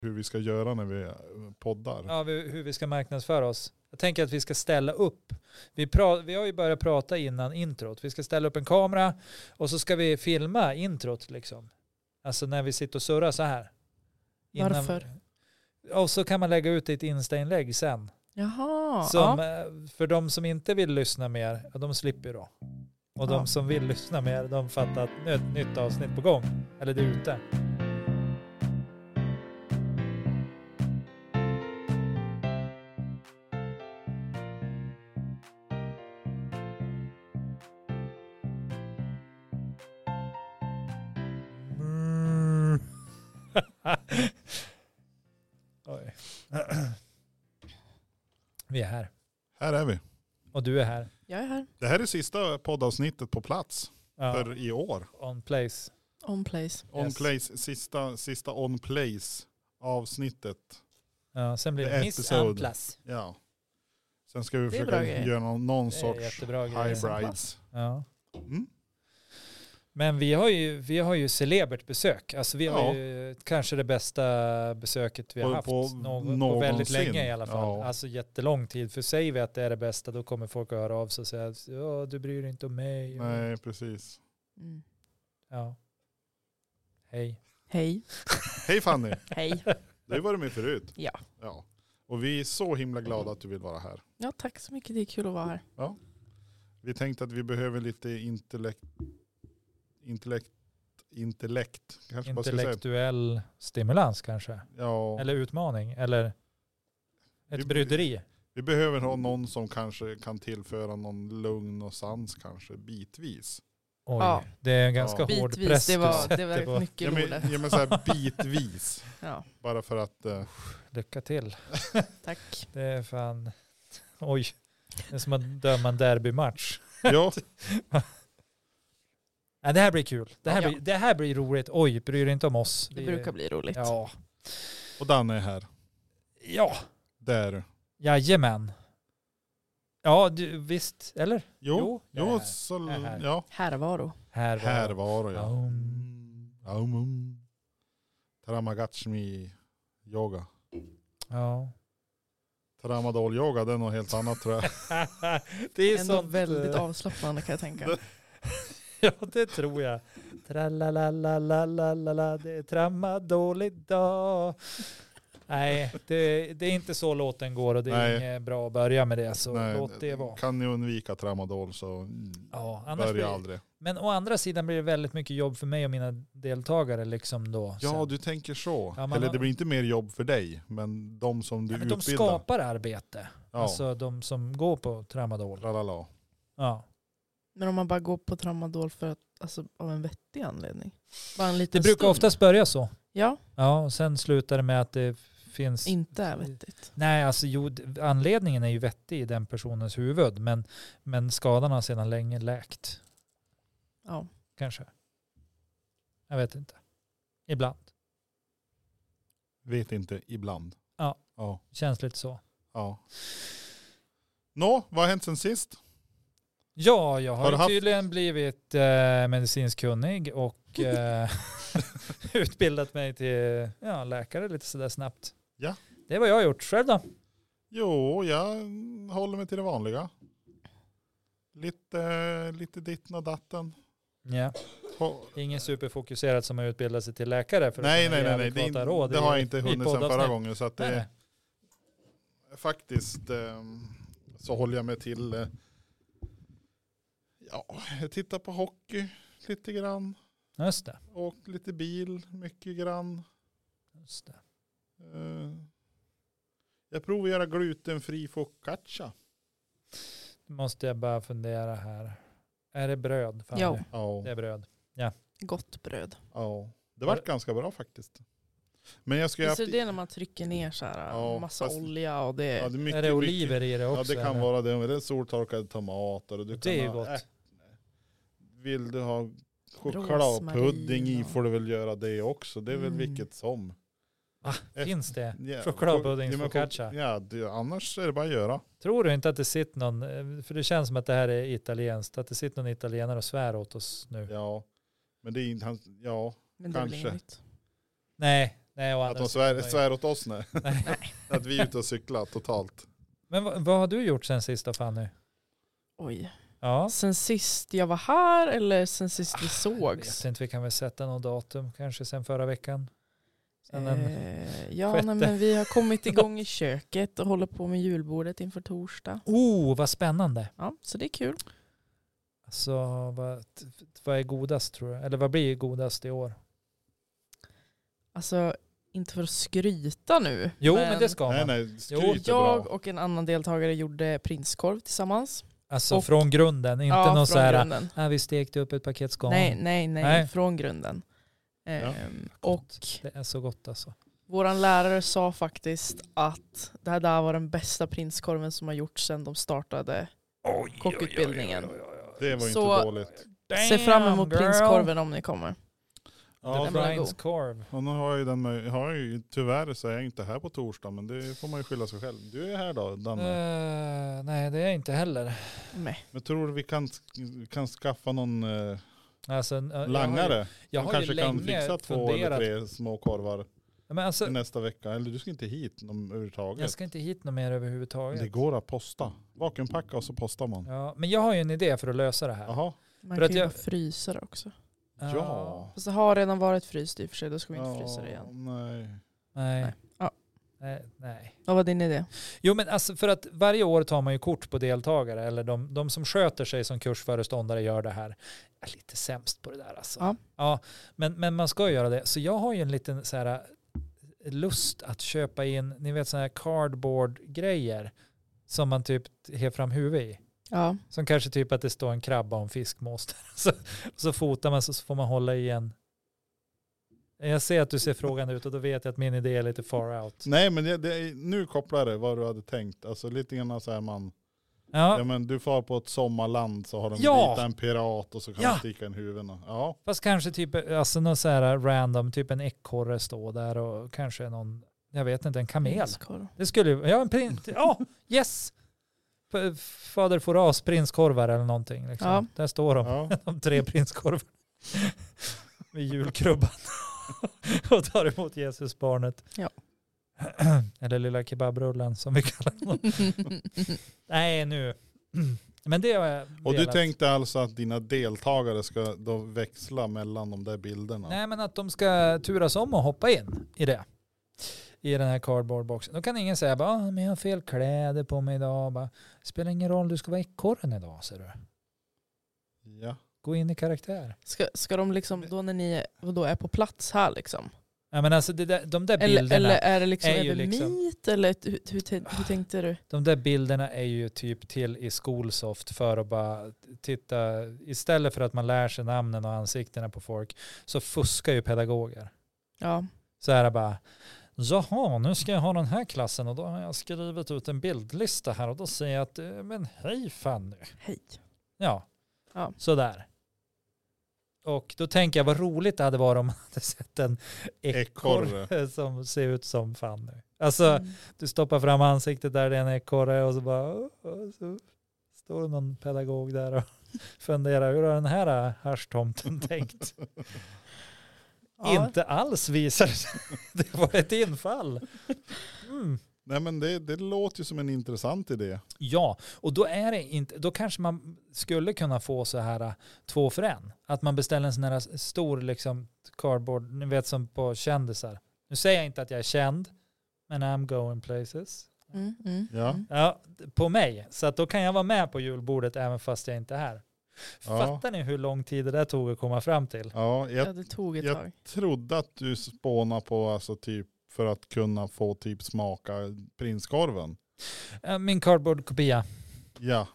hur vi ska göra när vi poddar. Ja, vi- hur vi ska marknadsföra oss. Jag tänker att vi ska ställa upp. Vi, pra, vi har ju börjat prata innan introt. Vi ska ställa upp en kamera och så ska vi filma introt liksom. Alltså när vi sitter och surrar så här. Varför? Och så kan man lägga ut det i ett Insta-inlägg sen. Jaha. Som, ja. eh, För de som inte vill lyssna mer, ja, de slipper ju då. Och Ja. de som vill lyssna mer, de fattar att nu är ett nytt avsnitt på gång. Eller det är ute. Oj. Vi är här. Här är vi. Och du är här. Jag är här. Det här är sista poddavsnittet på plats Ja, för i år. on place. On place. On Yes. place, sista, sista on place avsnittet. Ja, sen blir det The Miss episode. Amplas. Ja. Sen ska vi Det är bra försöka grejer. göra någon, någon Det är sorts jättebra high grejer. brides. Ja. Mm. Men vi har ju, vi har ju celebert besök. Alltså vi har Ja. ju kanske det bästa besöket vi har På- haft på någon, på någonsin. väldigt länge i alla fall. Ja. Alltså jättelång tid. För säger vi att det är det bästa då kommer folk att höra av sig och säga att ja, du bryr dig inte om mig. Nej, precis. Mm. Ja. Hej. Hej. Hej Fanny, Hej. du har varit med förut. Ja. ja. Och vi är så himla glada att du vill vara här. Ja, tack så mycket. Det är kul att vara här. Vi tänkte att vi behöver lite intellekt, intellekt, intellekt kanske man ska säga. Intellektuell stimulans kanske. Ja. Eller utmaning. Eller Vi- ett bryderi. Vi behöver ha någon som kanske kan tillföra någon lugn och sans kanske bitvis. Oj, Ja. det är en ganska Ja. hård Bitvis, press det du var, det sätter var på. mycket Ja men, roligt. ja, men så här bitvis. Ja, Bara för att eh, Lycka till. tack. Det är fan, oj, det är som att döma en derbymatch. ja, Ja, det här blir kul. Det här, Ja. blir, det här blir roligt. Oj, bryr dig inte om oss. Det brukar bli roligt. Ja. och Danne är här. ja, Där. jajamän. Ja, du, visst, eller? Jo, jag är jo här. så, Jag är här. ja. Härvaro. Här, var- Här var jag. Um. Um, um. Taramagachmi yoga. Ja. Tramadol yoga, det är något helt annat tror jag. det är Ändå sånt. eh, väldigt avslappnande kan jag tänka. Ja, det tror jag. Tralalalalalalalala, det är tramma dålig dag. Nej, det, det är inte så låten går och det är Nej. inget bra att börja med det. Så Nej, låt det vara. Kan ni undvika tramadol så mm, Ja, annars börja blir, aldrig. men å andra sidan blir det väldigt mycket jobb för mig och mina deltagare liksom då. Ja, sen. du tänker så. Ja, man Eller har- det blir inte mer jobb för dig, men de som du ja, men de utbildar. skapar arbete. ja. Alltså de som går på tramadol. Tralala. Ja. Men om man bara går på tramadol för att, alltså, av en vettig anledning. Bara en Det liten brukar stund. oftast börja så. Ja, Ja, och sen slutar det med att det finns inte är vettigt. Nej, alltså jo, d- anledningen är ju vettig i den personens huvud, men, men skadan har sedan länge läkt, Ja. kanske. Jag vet inte. Ibland. Vet inte, ibland. Ja. Ja. Känns lite så. ja. Nå, vad har hänt sen sist? Ja, jag har, Har du ju haft- tydligen blivit eh, medicinskt kunnig och eh, utbildat mig till ja, läkare lite sådär snabbt. Ja. Det är vad jag har gjort. Själv då? Jo, jag mm, håller mig till det vanliga. Lite, lite ditten och datten. Ja. Ho- Ingen superfokuserad som har utbildat sig till läkare för Nej, att nej, kunna ge nej, nej. Det, är adekvata in- råd det i- har jag inte i hunnit sedan förra poddavsnitt. gången. Så att det Nej, är nej. faktiskt ehm, så håller jag mig till eh, ja, jag tittar på hockey lite grann. Just det. Åkt lite bil mycket grann. Just det. Eh, Jag provar att göra glutenfri focaccia. Nu måste jag bara fundera här. Är det bröd? Fan, Ja. det- Ja, Det är bröd. Gott bröd. ja. Det vart ganska bra faktiskt. Men jag ska ju Visst är haft- det när man trycker ner så här, Ja, massa fast- olja och det... ja, det är mycket, är det oliver Mycket, i det också? ja, det kan eller? vara det. Men Det är soltorkade tomater. Och du det är ju kan ha gott. ärt- Vill du ha chokladpudding i Rosmarin och- får du väl göra det också. Det är väl Mm. vilket som. Va? Finns det? Ja, Chokladpudding, ja, men chok- focaccia. Ja, det, annars är det bara att göra. Tror du inte att det sitter någon, eh, för det känns som att det här är italienskt, att det sitter någon italienare och svär åt oss nu? Ja, men det är inte hans, ja, Men det är väl Kanske. inget nytt. Nej, Nej, och Att de svär, sidan har jag- svär åt oss nu. Nej. Att vi är ute och cyklar totalt. Men vad, vad har du gjort sen sist då Fanny? Oj. Ja, Sen sist jag var här eller sen sist vi Ah, jag vet sågs? inte, vi kan väl sätta något datum kanske sen förra veckan. Sen en, Eh, ja, sjätte. nej, men vi har kommit igång i köket och håller på med julbordet inför torsdag. oh, vad spännande. Ja, så det är kul. Alltså, vad, vad är godast tror du? Eller vad blir godast i år? Alltså, inte för att skryta nu. Jo, men, det ska nej man. nej, skryt Jo, är bra. Jag och en annan deltagare gjorde prinskorv tillsammans. Alltså och- från grunden, inte ja, någon från så här, grunden. "Ah, vi stekte upp ett paket skal. Nej, nej, nej, Nej. från grunden. Ja. Ehm, och Det är så gott alltså. våran lärare sa faktiskt att det här där var den bästa prinskorven som har gjorts sedan de startade. Kockutbildningen. oj, Det var inte Så- dåligt. Se fram emot prinskorven om ni kommer. Ja, Den var god. prinskorv. och nu har jag ju den möj- har jag ju, tyvärr så är jag inte här på torsdag, men det får man ju skylla sig själv. Du är här då, Danne. Eh, nej, det är jag inte heller. Nej. Men tror du vi kan, sk- kan skaffa någon eh, Alltså, eh, jag har ju- langare? Jag som har kanske ju kan länge fixa två funderat. eller tre små korvar Ja, Men alltså, till nästa vecka. Eller du ska inte hit någon jag överhuvudtaget. ska inte hit något mer överhuvudtaget. Det går att posta. Vakuumpacka och så postar man. Ja, men jag har ju en idé för att lösa det här. Jaha, Man För kan att ju jag- bara frysa det också. ja. Ja. Fast det har redan varit fryst i och för sig, då ska vi inte Ja, frysa det igen. Nej. Nej. Nej. Ja. Nej, nej. Vad var din idé? Jo men alltså för att varje år tar man ju kort på deltagare eller de, de som sköter sig som kursföreståndare gör det här. Jag är lite sämst på det där alltså. Ja. men, men man ska göra det. Så jag har ju en liten så här lust att köpa in, ni vet sådana här cardboard-grejer som man typ har fram huvudet i. Ja, Som kanske typ att det står en krabba och en fiskmås där. Så, så fotar man så så får man hålla i en. Jag ser att du ser frågan ut och då vet jag att min idé är lite far out. nej, men det, det, är- nu kopplar det vad du hade tänkt. Alltså lite grann så här man, ja. Ja, men du far på ett sommarland så har de Ja. ritat en pirat och så kan Ja. man sticka in huvudena. Ja, fast kanske typ alltså någon så här random, typ en ekorre står där och kanske någon, jag vet inte, en kamel. prinskorv. Det skulle ju, ja en prins, ja yes! F- Fader Foras prinskorvar eller någonting. Liksom. Ja. Där står de. ja. de tre prinskorvarna med julkrubban och tar emot Jesusbarnet. Ja. Eller lilla kebabrullen som vi kallar honom. Nej, nu. Men det har jag Och du velat. tänkte alltså att dina deltagare ska då växla mellan de där bilderna? Nej, men att de ska turas om och hoppa in i det. I den här cardboardboxen. Då kan ingen säga bara, "Ah, men jag har fel kläder på mig idag. Bara, Spelar ingen roll, du ska vara ekorren idag, ser du. Ja. Gå in i karaktär. Ska, ska de liksom, då när ni då är på plats här liksom? Ja, men alltså det där, de där bilderna. Eller, eller är det liksom är ju över liksom- meet? Eller ett- hur, hur, tän- hur tänkte du? De där bilderna är ju typ till i Skolsoft för att bara titta, istället för att man lär sig namnen och ansiktena på folk så fuskar ju pedagoger. Ja, Så här bara, jaha nu ska jag ha den här klassen och då har jag skrivit ut en bildlista här och då säger jag att, eh, men hej Fanny. hej. Ja, Ja. sådär. Och då tänker jag vad roligt det hade varit om man hade sett en ekorre Ekorre. som ser ut som Fanny. Alltså, Mm. du stoppar fram ansiktet där det är en ekorre och så bara "Åh, åh", så står det någon pedagog där och funderar hur har den här eh, haschtomten tänkt? Ja. Inte alls visar det sig. Det var ett infall. Mm. Nej men det, det låter ju som en intressant idé. Ja, och då är det inte, då kanske man skulle kunna få så här äh, två för en. Att man beställer en sån här stor liksom cardboard, ni vet som på kändisar. Nu säger jag inte att jag är känd, men I'm going places. Mm, mm, Ja. mm. Ja, d- på mig. Så att då kan jag vara med på julbordet även fast jag inte är här. Ja. Fattar ni hur lång tid det där tog att komma fram till? Ja, jag Ja, det tog ett jag- tag. trodde att du spånade på alltså typ för att kunna få typ smaka prinskorven. Äh, Min cardboardkopia. Ja,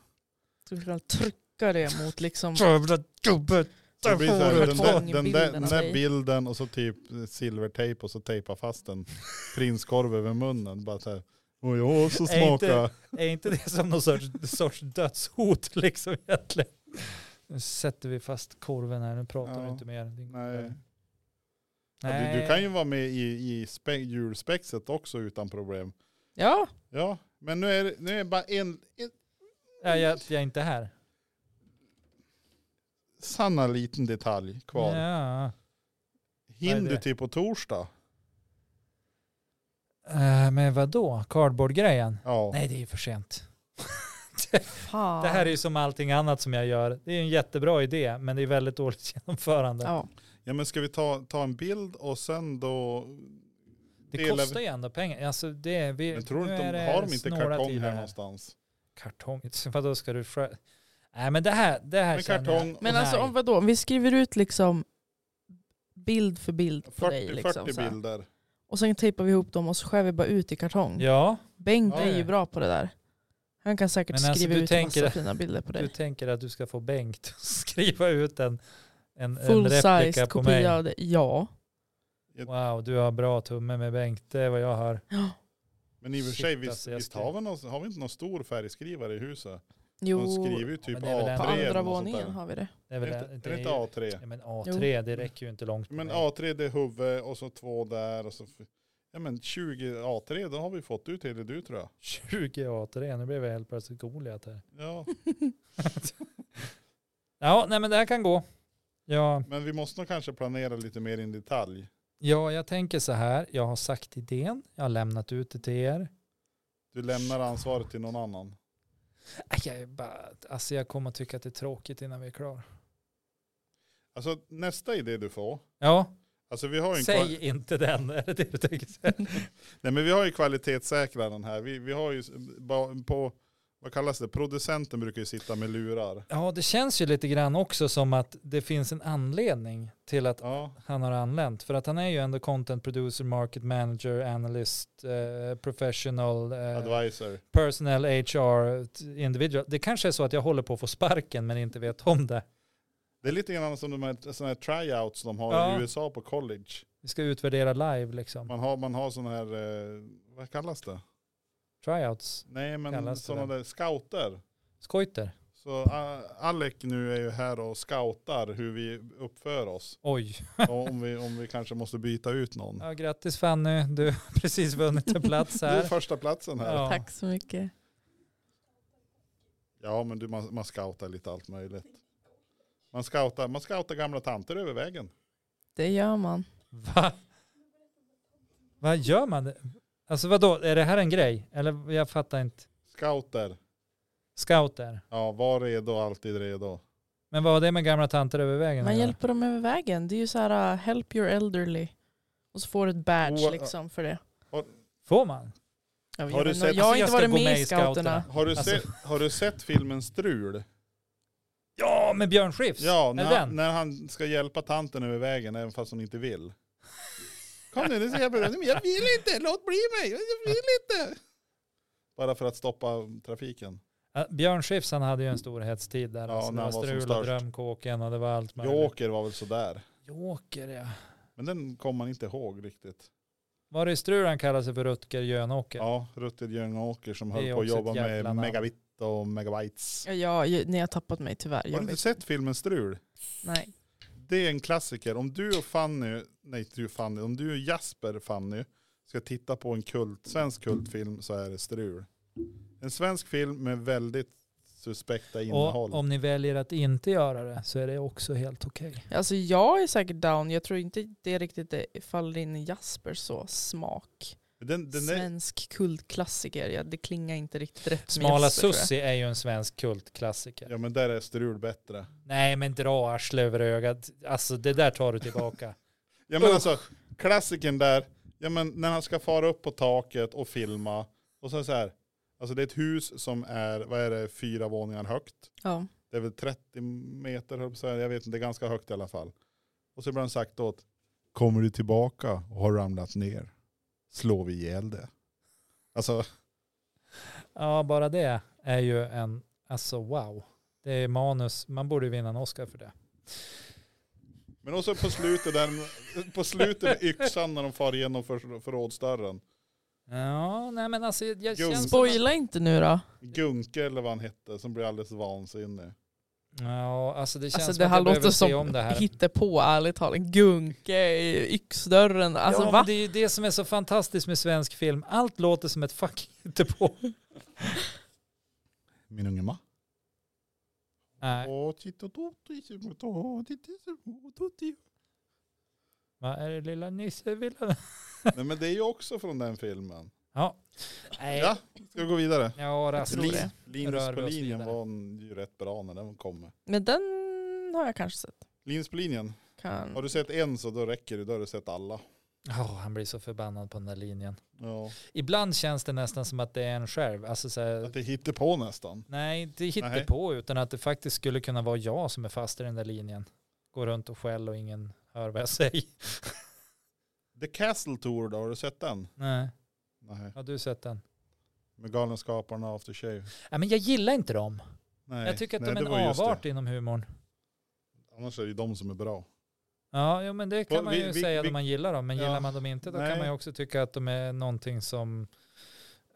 Skulle kunna trycka det mot liksom... Jävla gubbe! det blir så här, får du den, där, den, där, kartongbilden den av där dig. bilden och så typ silvertejp och så tejpa fast en prinskorv över munnen. Bara så här, och jag så Är inte- smaka. Är inte det som någon sorts, sorts dödshot liksom egentligen? Nu sätter vi fast korven här, nu pratar Ja. du inte mer. Din- Nej. Ja, Nej. du, du kan ju vara med i, i spe, julspexet också utan problem. Ja, Ja, men nu är det, nu är det bara en, en Ja, jag, jag är inte här. sanna liten detalj kvar. Ja. Hinner Vad är du det? till på torsdag? Nej Eh, men vadå, cardboard-grejen? Ja. Nej det är ju för sent. Fan. Det här är ju som allting annat som jag gör. Det är en jättebra idé men det är väldigt dåligt genomförande. Ja. ja men ska vi ta, ta en bild och sen då... det delar vi- kostar ju ändå pengar. Alltså det, är- vi, Men tror du nu inte är de det har de inte snåla kartong tider här någonstans? Kartong, vadå ska du skö... Nej men det här, det här Med känner kartong Men Och alltså nej. om vadå, om vi skriver ut liksom bild för bild på 40, dig. Liksom, 40 så här. bilder. och sen tejpar vi ihop dem och så skär vi bara ut i kartong. jag. Ja, Bengt Ja, är ja. ju bra på det där. Han kan säkert Men alltså, skriva du ut tänker- massa fina bilder på du dig. tänker att du ska få Bengt att skriva ut en, en, en replika Full-size på mig. kopia av det. Ja. Wow, du har bra tumme med Bengt, det är vad jag har. Men i och för Shit, sig, visst, alltså, jag visst skrev- har, vi någon, har vi inte någon stor färgskrivare i huset? De Jo, skriver ju typ men det är väl A3 på ändå- eller andra något sånt där. våningen har vi det. Det är Är väl det det, inte- är det är inte ju- A3? Ja, men A3, det räcker ju inte långt. på Men mig. A3 det är huvud och så två där och så... f- Ja men 20 A3, då har vi fått ut hela du tror jag. 20 A3, nu blev jag helt plötsligt Goliat här. Ja, Ja, nej men det här kan gå. Ja, men vi måste nog kanske planera lite mer i detalj. ja, jag tänker så här, jag har sagt idén, jag har lämnat ut det till er. Du lämnar ansvaret till någon annan. Aj, Jag, är bara, alltså jag kommer tycka att det är tråkigt innan vi är klara. Alltså nästa idé du får. Ja, Alltså vi har ju en kvar- säg inte den, är det det du tänker säga? Nej men vi har ju kvalitetssäkraren här. Vi, vi har ju s- ba- på, vad kallas det, producenten brukar ju sitta med lurar. Ja, det känns ju lite grann också som att det finns en anledning till att Ja, han har anlänt. För att han är ju ändå content producer, market manager, analyst, eh, professional, eh, advisor. personal HR, t- individual. Det kanske är så att jag håller på att få sparken men inte vet om det. Det är lite grann som de här såna här tryouts de har Ja. i USA på college. Vi ska utvärdera live liksom. Man har, man har sådana här, eh, vad kallas det? Tryouts, Nej men Kallas det sådana det? där scouter. skojter. Så ah, Alec nu är ju här och scoutar hur vi uppför oss. Oj. Och om, vi, om vi kanske måste byta ut någon. Ja, grattis Fanny, du har precis vunnit en plats Mm. Du är här. första platsen här. Ja, Ja. Tack så mycket. men du, man, man scoutar lite allt möjligt. Man scoutar, man scoutar gamla tanter över vägen. Det gör man. Va? Vad gör man? Alltså vadå, är det här en grej? Eller jag fattar inte. Scouter. Scouter. Ja, var redo, alltid redo. Men vad har det med gamla tanter över vägen att Man göra? hjälper dem över vägen. Det är ju så här, uh, help your elderly. Och så får du ett badge Och- liksom för det. Får man? Jag, vet Har du inte. sett- jag har Alltså, jag inte ska varit gå med, med i i scouterna. Har du, Alltså- sett, har du sett filmen Strul? Ja, med Björn Skifs? Ja, är det när, han- den? när han ska hjälpa tanten över vägen även fast hon inte vill. Kom nu, nu ska jag börja. Men Jag vill inte, låt bli mig, jag vill inte. Bara för att stoppa trafiken. Ja, Björn Skifs han hade ju en storhetstid där. Ja, alltså, när det var han var som strul och störst. drömkåken och det var allt möjligt. Joker var väl sådär. Joker ja. Men den kom man inte ihåg riktigt. Var det i strul han kallade sig för Rutger Jönåker? Ja, Rutger Ljungåker som Det höll är på att också ett jobba jävla med namn. megabit och megabytes. Ja, jag, ni har tappat mig tyvärr. Har Jag du inte vet. sett filmen Strul? Nej. Det är en klassiker. Om du och Fanny, nej du och Fanny, om du och Jasper Fanny ska titta på en kult, svensk kultfilm så är det Strul. En svensk film med väldigt suspekta innehåll. och om ni väljer att inte göra det så är det också helt okej. Alltså jag är säkert down. Jag tror inte det riktigt det faller in i Jaspers så smak. den, den är, Svensk kultklassiker. Ja, det klingar inte riktigt rätt med Smala Jasper, tror jag. Sussi är ju en svensk kultklassiker. ja men där är Strul bättre. Nej men dra arsle över ögat. Alltså det där tar du tillbaka. Ja men alltså klassiken där, ja men när han ska fara upp på taket och filma och så, så här, alltså det är ett hus som är, vad är det, fyra våningar högt. Ja. Det är väl 30 meter, höll jag på att säga. jag vet inte, det är ganska högt i alla fall. Och så ibland sagt åt, kommer du tillbaka och har ramlat ner, slår vi ihjäl det. Alltså, ja bara det är ju en, alltså wow. Det är manus, man borde ju vinna en Oscar för det. men också på slutet, där, på slutet med yxan när de far igenom för, förrådsdörren. Ja, nej men alltså jag jag Gung. känns som att- Spoila inte nu då. Gunke eller vad han hette, som blir alldeles vansinnig. Ja, alltså det känns Alltså som det att här jag behöver låter se om som det här. hittepå ärligt talat. Gunke i yxdörren. Alltså ja, va? men det är ju det som är så fantastiskt med svensk film. Allt låter som ett fucking på. Min unge ma. Nej, Åh, titta, då, titta, då, då, titta, då, då, titta. vad är det lilla Nisse vill ha? Nej men det är ju också från den filmen. Ja. Nej. Ja, ska vi gå vidare? Ja, Rasmus. tror det. Linus Rör vi på oss linjen vidare. var en- ju rätt bra när den kom. Men den har jag kanske sett. Linus på linjen. Kan... Har du sett en så då räcker det, då har du sett alla. Ja, han blir så förbannad på den där linjen. Ja, Ibland känns det nästan som att det är en själv. Alltså så här, att det hittar på nästan. nej, det hittar Nej. på utan att det faktiskt skulle kunna vara jag som är fast i den där linjen. Går runt och skäll och ingen hör vad jag säger. The Castle Tour då, har du sett den? Nej, Nej. har du sett den? Med Galenskaparna och After Shave. Nej, men jag gillar inte dem. Nej, jag tycker att nej, de det är var en just det. avart inom humorn. Annars är det ju de som är bra. Ja, jo, men det Och kan man vi- ju vi- säga vi- när man gillar dem. Men Ja, gillar man dem inte då nej. kan man ju också tycka att de är någonting som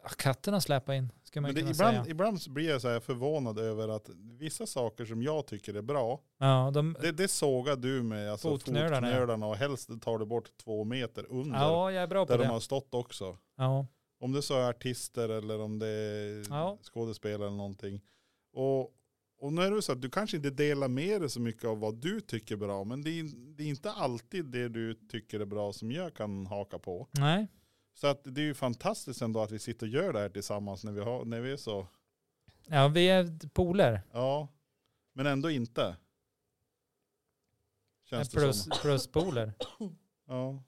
ja, katterna släpar in. Ska man Men ju det, kunna ibland, säga. ibland så blir jag så här förvånad över att vissa saker som jag tycker är bra, Ja, de, det, det sågar du med alltså Fotknölarna, fotknölarna, ja. och helst tar du bort två meter under ja, jag är bra på där de det. har stått också. Ja, Om det så är artister eller om det är Ja. skådespelare eller någonting. Och, och nu är det så att du kanske inte delar med dig så mycket av vad du tycker är bra, men det är, det är inte alltid det du tycker är bra som jag kan haka på. nej. Så att det är ju fantastiskt ändå att vi sitter och gör det här tillsammans när vi, har, när vi är så, Ja, vi är poler. ja, men ändå inte. Känns det Plus, som. plus poler. Ja,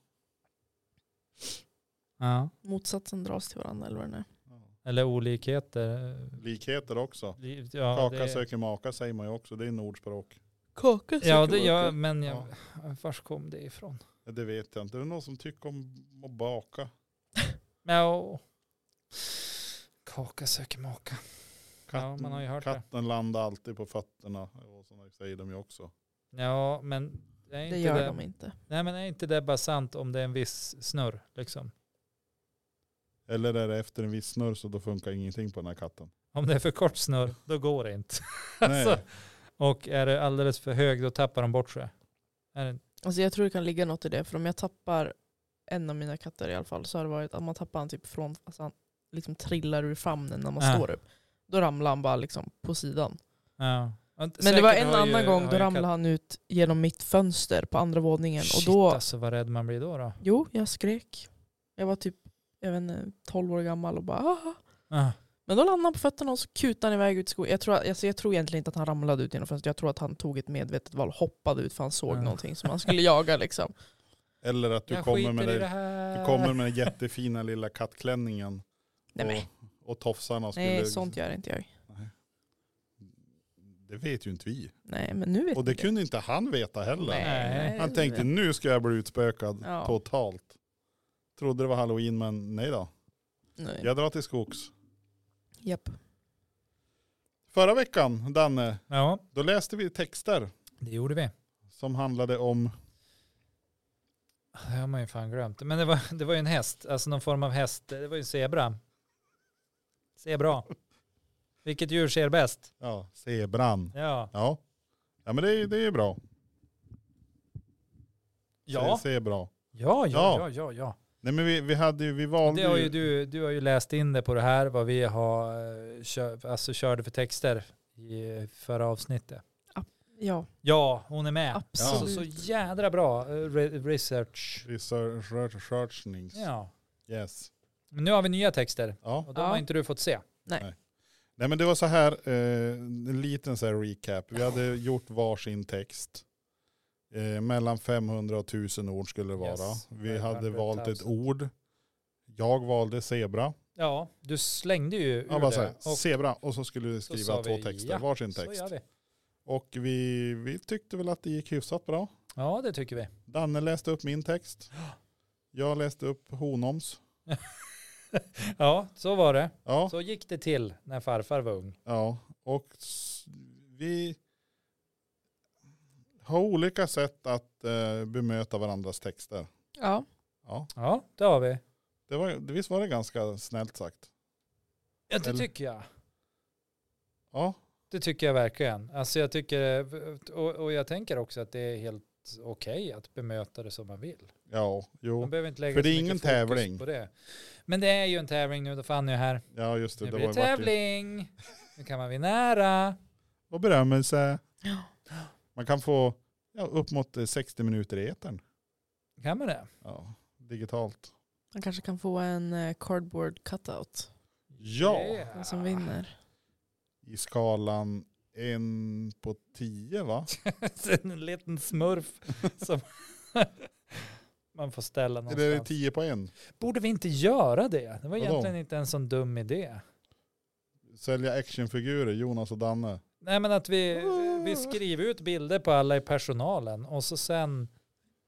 Ja. Motsatsen dras till varandra eller vad det nu är. ja. Eller olikheter. Likheter också. Ja, Kaka det, söker maka säger man ju också, det är en ordspråk. Kaka ja, det gör, men jag, Ja. vars kom det ifrån? Ja, Det vet jag inte, det är någon som tycker om att baka. Men, ja. Kaka söker maka. Ja, man har ju hört det. katten landar alltid på fötterna. Och sådana säger de ju också. Ja, men det är inte Det gör det. de inte. Nej, men är inte det bara sant om det är en viss snurr liksom? Eller är det efter en viss snurr så då funkar ingenting på den här katten. Om det är för kort snurr, då går det inte. Nej, Alltså. Och är det alldeles för hög, då tappar de bort sig. Är det, Alltså jag tror det kan ligga något i det, för om jag tappar en av mina katter i alla fall så har det varit att man tappar han typ från, alltså han liksom trillar ur famnen när man Ja. står upp. Då ramlar han bara liksom på sidan. ja. Men det var en annan gång då ramlade han ut genom mitt fönster på andra våningen. Shit, och då, alltså vad rädd man blir då. då. jo jag skrek. Jag var typ, jag vet inte, 12 år gammal och bara ah. Ja. Men då landade han på fötterna och så kutade han iväg ut i skogen. Jag tror, alltså jag tror egentligen inte att han ramlade ut genom fönstret. Jag tror att han tog ett medvetet val och hoppade ut för han såg Ja. någonting som han skulle jaga. Liksom. Eller att du jag kommer, skiter med i det det, här. du kommer med den jättefina lilla kattklänningen. Nej, men. och, och tofsarna skulle... Nej, sånt gör inte jag. Det vet ju inte vi. Nej, men nu vet Och det ni kunde inte han veta heller. Nej. Han tänkte nu ska jag bli utspökad Ja. totalt. Trodde det var halloween men nej då. Nej. Jag drar till skogs. Japp. Förra veckan Danne, Ja, då läste vi texter det gjorde vi. som handlade om Det har man ju fan glömt. Men det var, det var ju en häst, alltså någon form av häst. Det var ju en zebra. Zebra. Vilket djur ser bäst? ja, zebran. Ja. Ja. Ja men det, är- det är bra. Ja, Det är bra. ja, ja, ja, Ja. ja. ja. Nej men vi, vi hade ju, vi valde Det har ju ju- du, du har ju läst in det på det här, vad vi har, eh, kö, alltså körde för texter i förra avsnittet. Ja, Ja, hon är med. Absolut. Så, så jädra bra eh, re- research. research- researchnings. Ja. Yes. Men nu har vi nya texter Ja. och de Ja. har inte du fått se. Nej men det var så här, eh, en liten så här recap. Vi hade gjort varsin text. Eh, mellan 500 och 1000 ord skulle det vara. Yes. Vi hade 500 valt ett 1000. ord. Jag valde zebra. Ja, du slängde ju ur Ja, bara så det. här, zebra. Och så skulle du så sa skriva två vi, texter, ja, varsin så text. gör vi. Och vi, vi tyckte väl att det gick hyfsat bra. Ja, det tycker vi. Danne läste upp min text. Jag läste upp Honoms. Ja, så var det. Ja, Så gick det till när farfar var ung. ja. och s- vi har olika sätt att eh, bemöta varandras texter. ja. Ja, Ja, det har vi. det var, visst var det ganska snällt sagt? Ja, det Eller- tycker jag. Ja, Det tycker jag verkligen. Alltså jag tycker, och, och jag tänker också att det är helt okej att bemöta det som man vill. ja, Man jo, behöver inte lägga För det är så mycket ingen fokus tävling. På det. Men det är ju en tävling nu, då Fanny är här. ja just det. Nu det blir det var ju- vart ju- tävling. Nu kan man vinna ära. Och berömmelse. Ja. Man kan få ja, upp mot eh, 60 minuter i etern. Kan man det? Ja, digitalt. Han kanske kan få en eh, cardboard cutout. Ja, Yeah. Den som vinner. i skalan en på tio va? en liten smurf som man får ställa Eller är det någonstans. tio på en? Borde vi inte göra det? Det var Vadå? egentligen inte en sån dum idé. Sälja actionfigurer, Jonas och Danne. Nej men att vi, vi skriver ut bilder på alla i personalen och så sen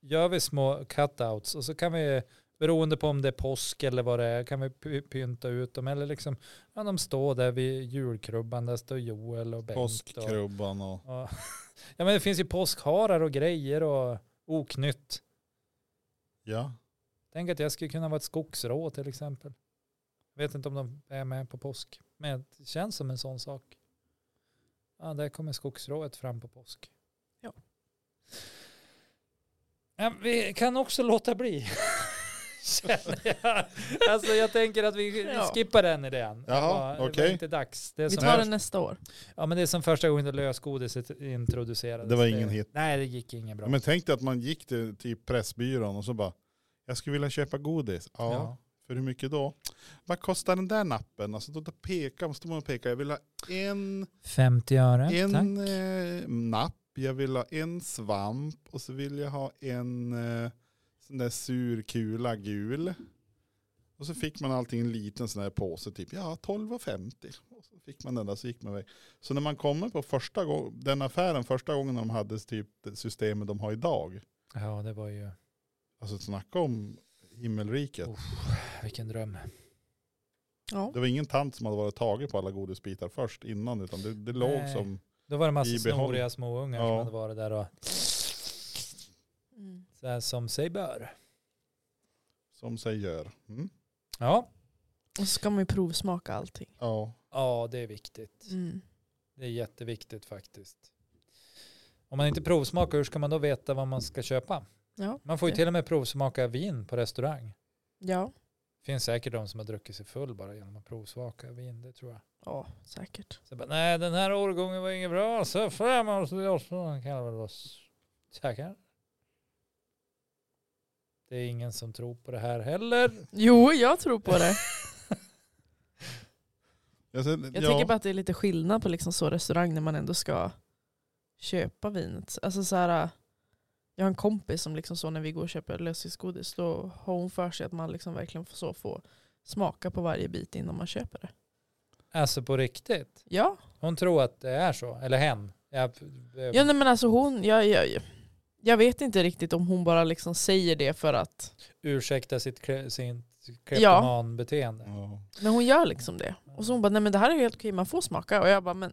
gör vi små cutouts och så kan vi beroende på om det är påsk eller vad det är kan vi py- pynta ut dem eller liksom ja, de står där vid julkrubban där står Joel och Bengt. Och, Påskkrubban och... och, ja men det finns ju påskharar och grejer och oknytt. Ja. Tänk att jag skulle kunna vara ett skogsrå till exempel. Vet inte om de är med på påsk men det känns som en sån sak. Ja, där kommer skogsrået fram på påsk. Ja. Ja, vi kan också låta bli. Känner jag. Alltså jag tänker att vi Ja. skippar den idén. Jaha, Ja, det var okej. inte dags. Det är Vi som, tar den nästa år. ja, men det är som första gången det lösgodiset introducerades. Det var ingen hit. Nej, det gick inget bra. Men tänk dig att man gick till typ Pressbyrån och så bara, jag skulle vilja köpa godis. Ja. Ja. För hur mycket då? Vad kostar den där nappen? Alltså då pekar, stod man och pekade, jag vill ha en 50 öre, en tack. eh, napp, jag vill ha en svamp och så vill jag ha en eh, sån där surkula gul. Och så fick man allting i en liten sån här påse, typ ja 12,50. Och så fick man den där så gick man iväg. Så när man kommer på första gång, den affären första gången de hade typ det systemet de har idag. Ja, det var ju, Alltså snacka om himmelriket. Oh. vilken dröm. Ja. Det var ingen tant som hade varit taget på alla godisbitar först innan utan det, det låg Nej. som, Då var det en I massa behåll. snoriga småungar Ja. som hade varit där och Mm. så här som sig bör. som sig gör. Mm. Ja. Och så ska man ju provsmaka allting. Ja. ja, det är viktigt. Mm. Det är jätteviktigt faktiskt. Om man inte provsmakar, hur ska man då veta vad man ska köpa? Ja. Man får ju Det- till och med provsmaka vin på restaurang. Ja. finns säkert de som har druckit sig full bara genom att provsmaka vin, det tror jag. ja, säkert. Så jag bara, nej den här årgången var inget bra, så framåt i oss kan jag väl vara säker. Det är ingen som tror på det här heller. Jo, jag tror på det. Alltså, Jag ja. tänker bara att det är lite skillnad på liksom så restaurang när man ändå ska köpa vinet. Alltså så här, jag har en kompis som liksom så när vi går och köper lösviktsgodis då har hon för sig att man liksom verkligen får, så får smaka på varje bit innan man köper det. Alltså på riktigt. Ja, Hon tror att det är så. Eller hen. Jag, jag, ja nej, men alltså hon, jag, jag, jag vet inte riktigt om hon bara liksom säger det för att, Ursäkta sitt, kre- sin kleptomanbeteende. Ja. men hon gör liksom det. Och så hon bara, nej men det här är helt okej, man får smaka. Och jag bara, men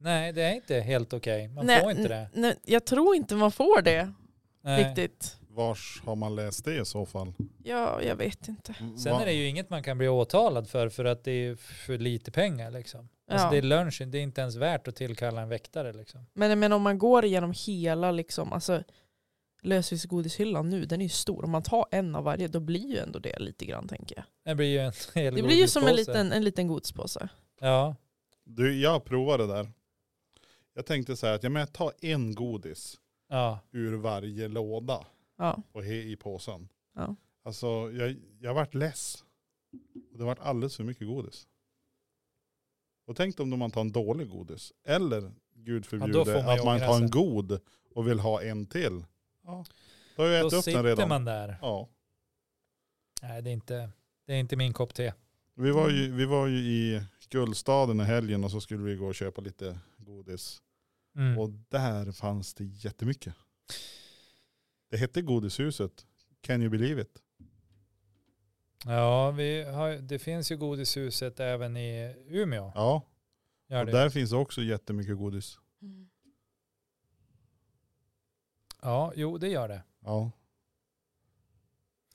Nej, det är inte helt okej. Man nej, får inte det. nej, jag tror inte man får det Nej. riktigt. Vars har man läst det i så fall? Ja, jag vet inte. Sen är det ju inget man kan bli åtalad för för att det är för lite pengar liksom. Alltså Ja. det är lunchen, det är inte ens värt att tillkalla en väktare liksom. Men, men om man går igenom hela liksom, alltså, lösviktsgodishyllan nu, den är ju stor. Om man tar en av varje, då blir ju ändå det lite grann tänker jag. Det blir ju en hel Det blir ju som en godispåse. liten, en liten godispåse. Ja, Du, jag provade det där. Jag tänkte så här att ja, men jag tar en godis ja. ur varje låda Ja. och he i påsen. Ja. Alltså jag, jag vart less. Och det vart alldeles för mycket godis. Och tänk om man tar en dålig godis. Eller gud förbjude Ja, då får man ju att man ångra tar en sig. god och vill ha en till. Ja. Då har jag Då ätit upp den sitter redan. man där. Ja. Nej, det är inte, det är inte min kopp te. Vi var, ju, Mm. vi var ju i Guldstaden i helgen och så skulle vi gå och köpa lite godis. Mm. Och där fanns det jättemycket. Det hette Godishuset. Can you believe it? Ja, vi har, det finns ju godishuset även i Umeå. Ja, Gör och det. där finns också jättemycket godis. Ja, jo det gör det. Ja,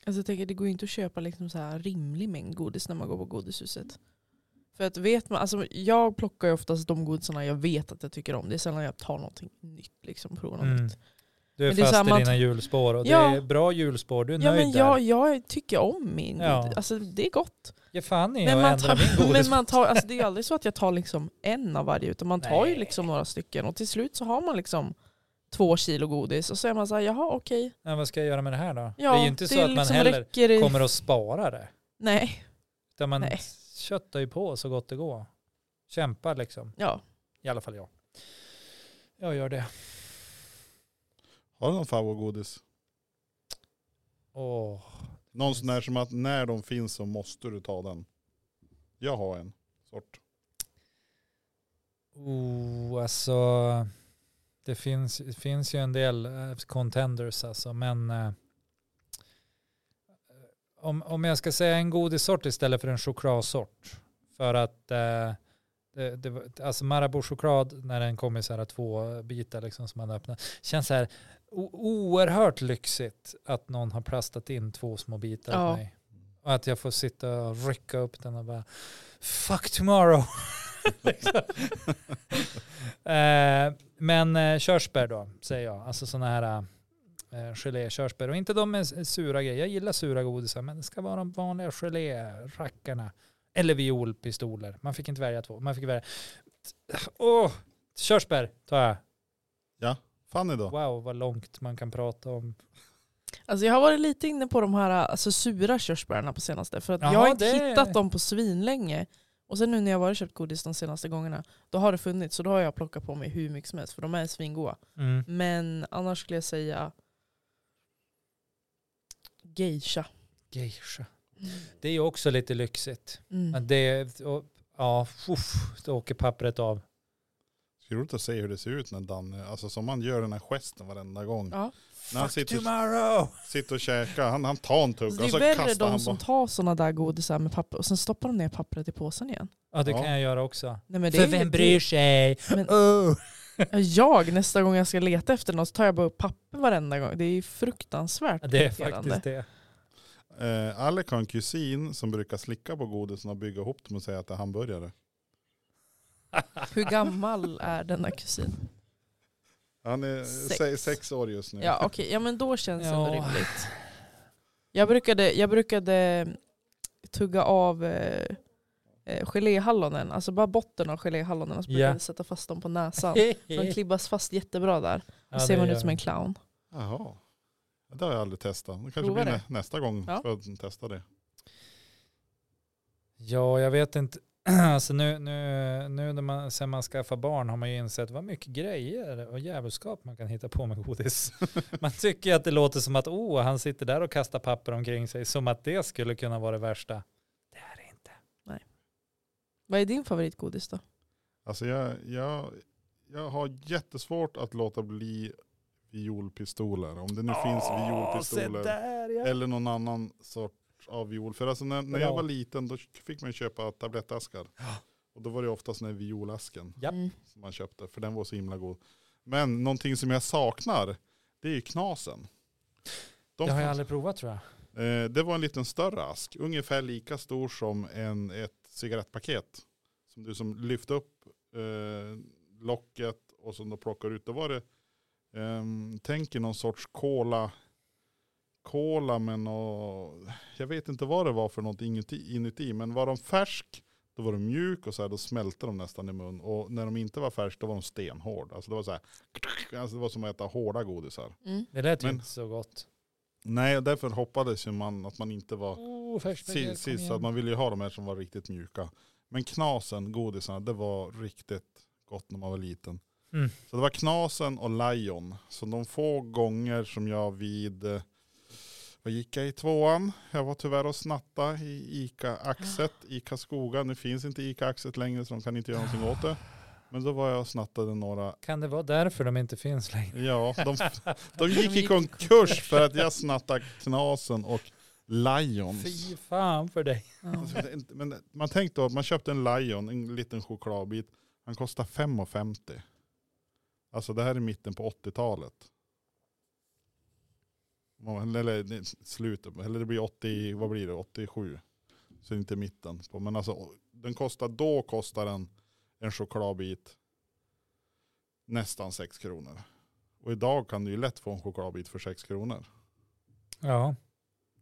Alltså jag tänker det går ju inte att köpa liksom så här rimlig mängd godis när man går på godishuset. För att vet man, alltså jag plockar ju oftast de godisarna jag vet att jag tycker om. Det är sällan jag tar någonting nytt liksom, provar något Mm. nytt. Du är Men det är fast i samma- dina hjulspår och Ja. det är bra hjulspår. Du är Ja nöjd men där. jag, jag tycker om min Ja. godis, alltså det är gott. Ge fan i att Men man, ändra min tar, men godis. man tar, alltså det är ju aldrig så att jag tar liksom en av varje utan man tar ju Nej. liksom några stycken och till slut så har man liksom två kilo godis och så är man så här, jaha okej. Nej, vad ska jag göra med det här då? Ja, det är ju inte så att man liksom heller räcker i- kommer att spara det. Nej, Utan man Nej. köttar ju på så gott det går. Kämpar liksom. ja. I alla fall jag. Jag gör det. Har du någon favoritgodis? Åh, Någon sån där som att när de finns så måste du ta den. Jag har en sort. oh, alltså. Det finns, det finns ju en del eh, contenders alltså, men eh, om, om jag ska säga en godissort istället för en chokladsort. För att eh, det, det, var- alltså Marabou choklad när den kom i så här två bitar liksom som man öppnar. Känns så här o- oerhört lyxigt att någon har plastat in två små bitar Ja. åt mig. Och att jag får sitta och rycka upp den och bara fuck tomorrow. liksom. eh, men eh, körsbär då säger jag. Alltså sådana här eh, gelékörsbär. Och inte de med s- eh, sura grejer. Jag gillar sura godisar men det ska vara de vanliga gelérackarna. Eller violpistoler. Man fick inte välja två. Man fick välja. Åh, körsbär tar jag. Fanny då? Wow, vad långt man kan prata om. Alltså jag har varit lite inne på de här alltså, sura körsbärna på senaste. För att Jaha, jag har inte det- hittat dem på svinlänge. Och sen nu när jag varit och köpt godis de senaste gångerna, då har det funnits. Så då har jag plockat på mig hur mycket som helst, för de är svingoda. Mm. Men annars skulle jag säga geisha. Geisha. Det är ju också lite lyxigt. Mm. Men det, och, ja, uff, då åker pappret av. Skulle roligt att se hur det ser ut när Danne, alltså som han gör den här gesten varenda gång. Ja. När han Fuck sitter- tomorrow! Sitter och käkar, han, han tar en tugga Alltså och det så är värre kastar de han som bara. tar sådana där godisar med papper och sen stoppar de ner pappret i påsen igen. Ja, det Ja. kan jag göra också. Nej, men det För är ju- vem bryr sig? Men- Oh. Jag, nästa gång jag ska leta efter något, så tar jag bara upp papper varenda gång. Det är ju fruktansvärt. Ja, Det är irriterande. faktiskt det. Eh, Alec har en kusin som brukar slicka på godisen och bygga ihop dem och säga att det är hamburgare. Hur gammal är denna kusin? Han är Sex. sex, sex år just nu. Ja okej, ja men då känns det ändå Ja. rimligt. Jag brukade, jag brukade tugga av eh, eh, geléhallonen, alltså bara botten av geléhallonen och så brukade Ja. jag sätta fast dem på näsan. De klibbas fast jättebra där. Då Ja, ser det man gör ut som en jag. clown. Jaha. Ja, Det har jag aldrig testat. Det kanske Prova blir det. nä- nästa gång Ja. för att testa det. Ja, jag vet inte. Alltså nu, nu, nu när man, sen man skaffar barn har man ju insett vad mycket grejer och djävulskap man kan hitta på med godis. Man tycker att det låter som att oh, han sitter där och kastar papper omkring sig, som att det skulle kunna vara det värsta. Det är det inte. Vad är din favoritgodis då? Alltså jag, jag, jag har jättesvårt att låta bli violpistoler. Om det nu finns Åh, se violpistoler. där, ja. Eller någon annan sort av viol. För alltså när, när jag Bra. var liten då fick man ju köpa tablettaskar. Ja. Och då var det oftast den här violasken Japp. Mm. som man köpte. För den var så himla god. Men någonting som jag saknar det är ju knasen. De Det har jag fanns- aldrig provat tror jag. Eh, Det var en liten större ask, ungefär lika stor som en, ett cigarettpaket. Som du som lyfte upp eh, locket och som du plockar ut. Då var det, ehm, tänk er någon sorts cola, cola med något, jag vet inte vad det var för något inuti, inuti men var de färsk då var de mjuk och så här, då smälte de nästan i mun. Och när de inte var färsk då var de stenhård. Alltså det var så här, alltså det var som att äta hårda godisar. Mm. Det lät ju Men- inte så gott. Nej, och därför hoppades ju man att man inte var Oh, färskt med mjölk, Precis, kom precis, så att igen. man ville ju ha de här som var riktigt mjuka. Men knasen, godisarna, det var riktigt gott när man var liten. Mm. Så det var knasen och lion. Så de få gånger som jag vid, eh, vad gick jag i tvåan? Jag var tyvärr och snatta i ICA-axet, ICA-skoga. Nu finns inte ICA-axet längre så de kan inte göra någonting åt det. Men då var jag och snattade några, Kan det vara därför de inte finns längre? ja, de, de gick i konkurs för att jag snattade knasen och lions. Fy fan för dig. Ja. Alltså, det är inte- Men man tänkte då att man köpte en Lion, en liten chokladbit. Han kostar 5,50. Alltså det här är mitten på 80-talet. Man- Eller nej, slutet, eller det blir 80, vad blir det, 87. Så det är inte mitten. på. Men alltså den kostar, då kostar den en chokladbit nästan 6 kronor. Och idag kan du ju lätt få en chokladbit för 6 kronor. Ja,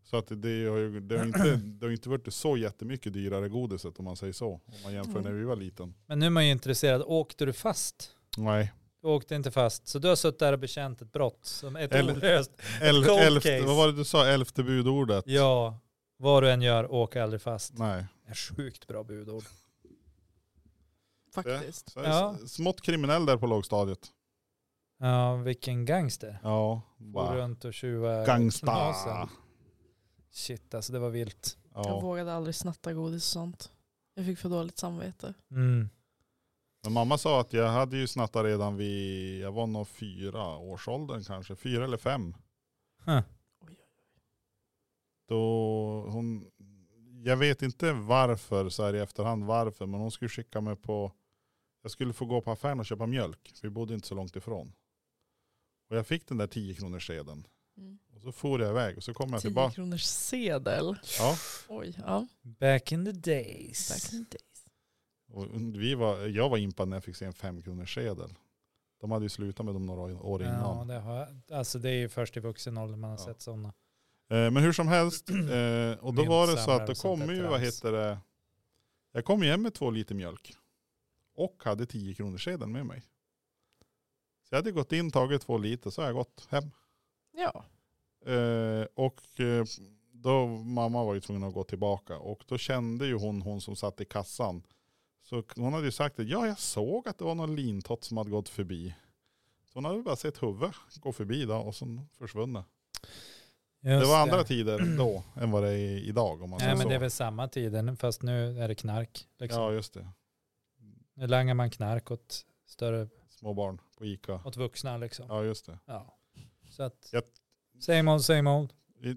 Så att det har ju det har inte, det har inte varit så jättemycket dyrare godiset om man säger så. Om man jämför Mm. när vi var liten. men nu är man ju intresserad. Åkte du fast? Nej. Du åkte inte fast. Så du har suttit där och bekänt ett brott som ett Eller- olöst. El, Cold elfte, case. vad var det du sa? Elfte budordet? Ja, vad du än gör, åk aldrig fast. Nej. Ett sjukt bra budord. faktiskt. Så jag Ja. är s- Smått kriminell där på lågstadiet. Ja, vilken gangster. Ja. Går Bara. runt och tjuva Gangsta. knasen. Shit alltså, det var vilt. Jag Ja. vågade aldrig snatta godis och sånt. Jag fick för dåligt samvete. Mm. Men mamma sa att jag hade ju snattat redan vid, jag var nog fyra års åldern kanske, fyra eller fem. Huh. Då hon, jag vet inte varför så här i efterhand varför, men hon skulle skicka mig på, jag skulle få gå på affären och köpa mjölk, för vi bodde inte så långt ifrån. Och jag fick den där 10 kronors sedeln. Mm. Och så for jag iväg och så kom jag 10 tillbaka. kronors sedel. Ja, Oj, ja. Back in the days. Back in the days. och vi var, jag var impad när jag fick se en 5 kronors sedel. De hade ju slutat med dem några år innan. Ja, det, har, alltså det är ju först i vuxen ålder man har Ja. sett sådana. Eh, Men hur som helst, eh, och då Mynt, var det så samlare att då och sånt kom där ju, vad trams. heter det, jag kom ju hem med två liter mjölk. Och hade 10 kronor sedeln med mig. Så jag hade gått in, tagit två liter, så har jag gått hem. Ja, Eh, och eh, då, mamma var ju tvungen att gå tillbaka. Och då kände ju hon, hon som satt i kassan. Så k- hon hade ju sagt det, ja jag såg att det var någon lintott som hade gått förbi. Så hon hade ju bara sett huvudet gå förbi då och sen försvunnit. Just Mm. det var andra tider då än vad det är idag om man Nej säger men så. det är väl samma tiden fast nu är det knark. Liksom. Ja just det. Nu langar man knark åt, större, Små barn på Ica. åt vuxna liksom. Ja. Ja just det. Så att, Jag- same old, same old. I-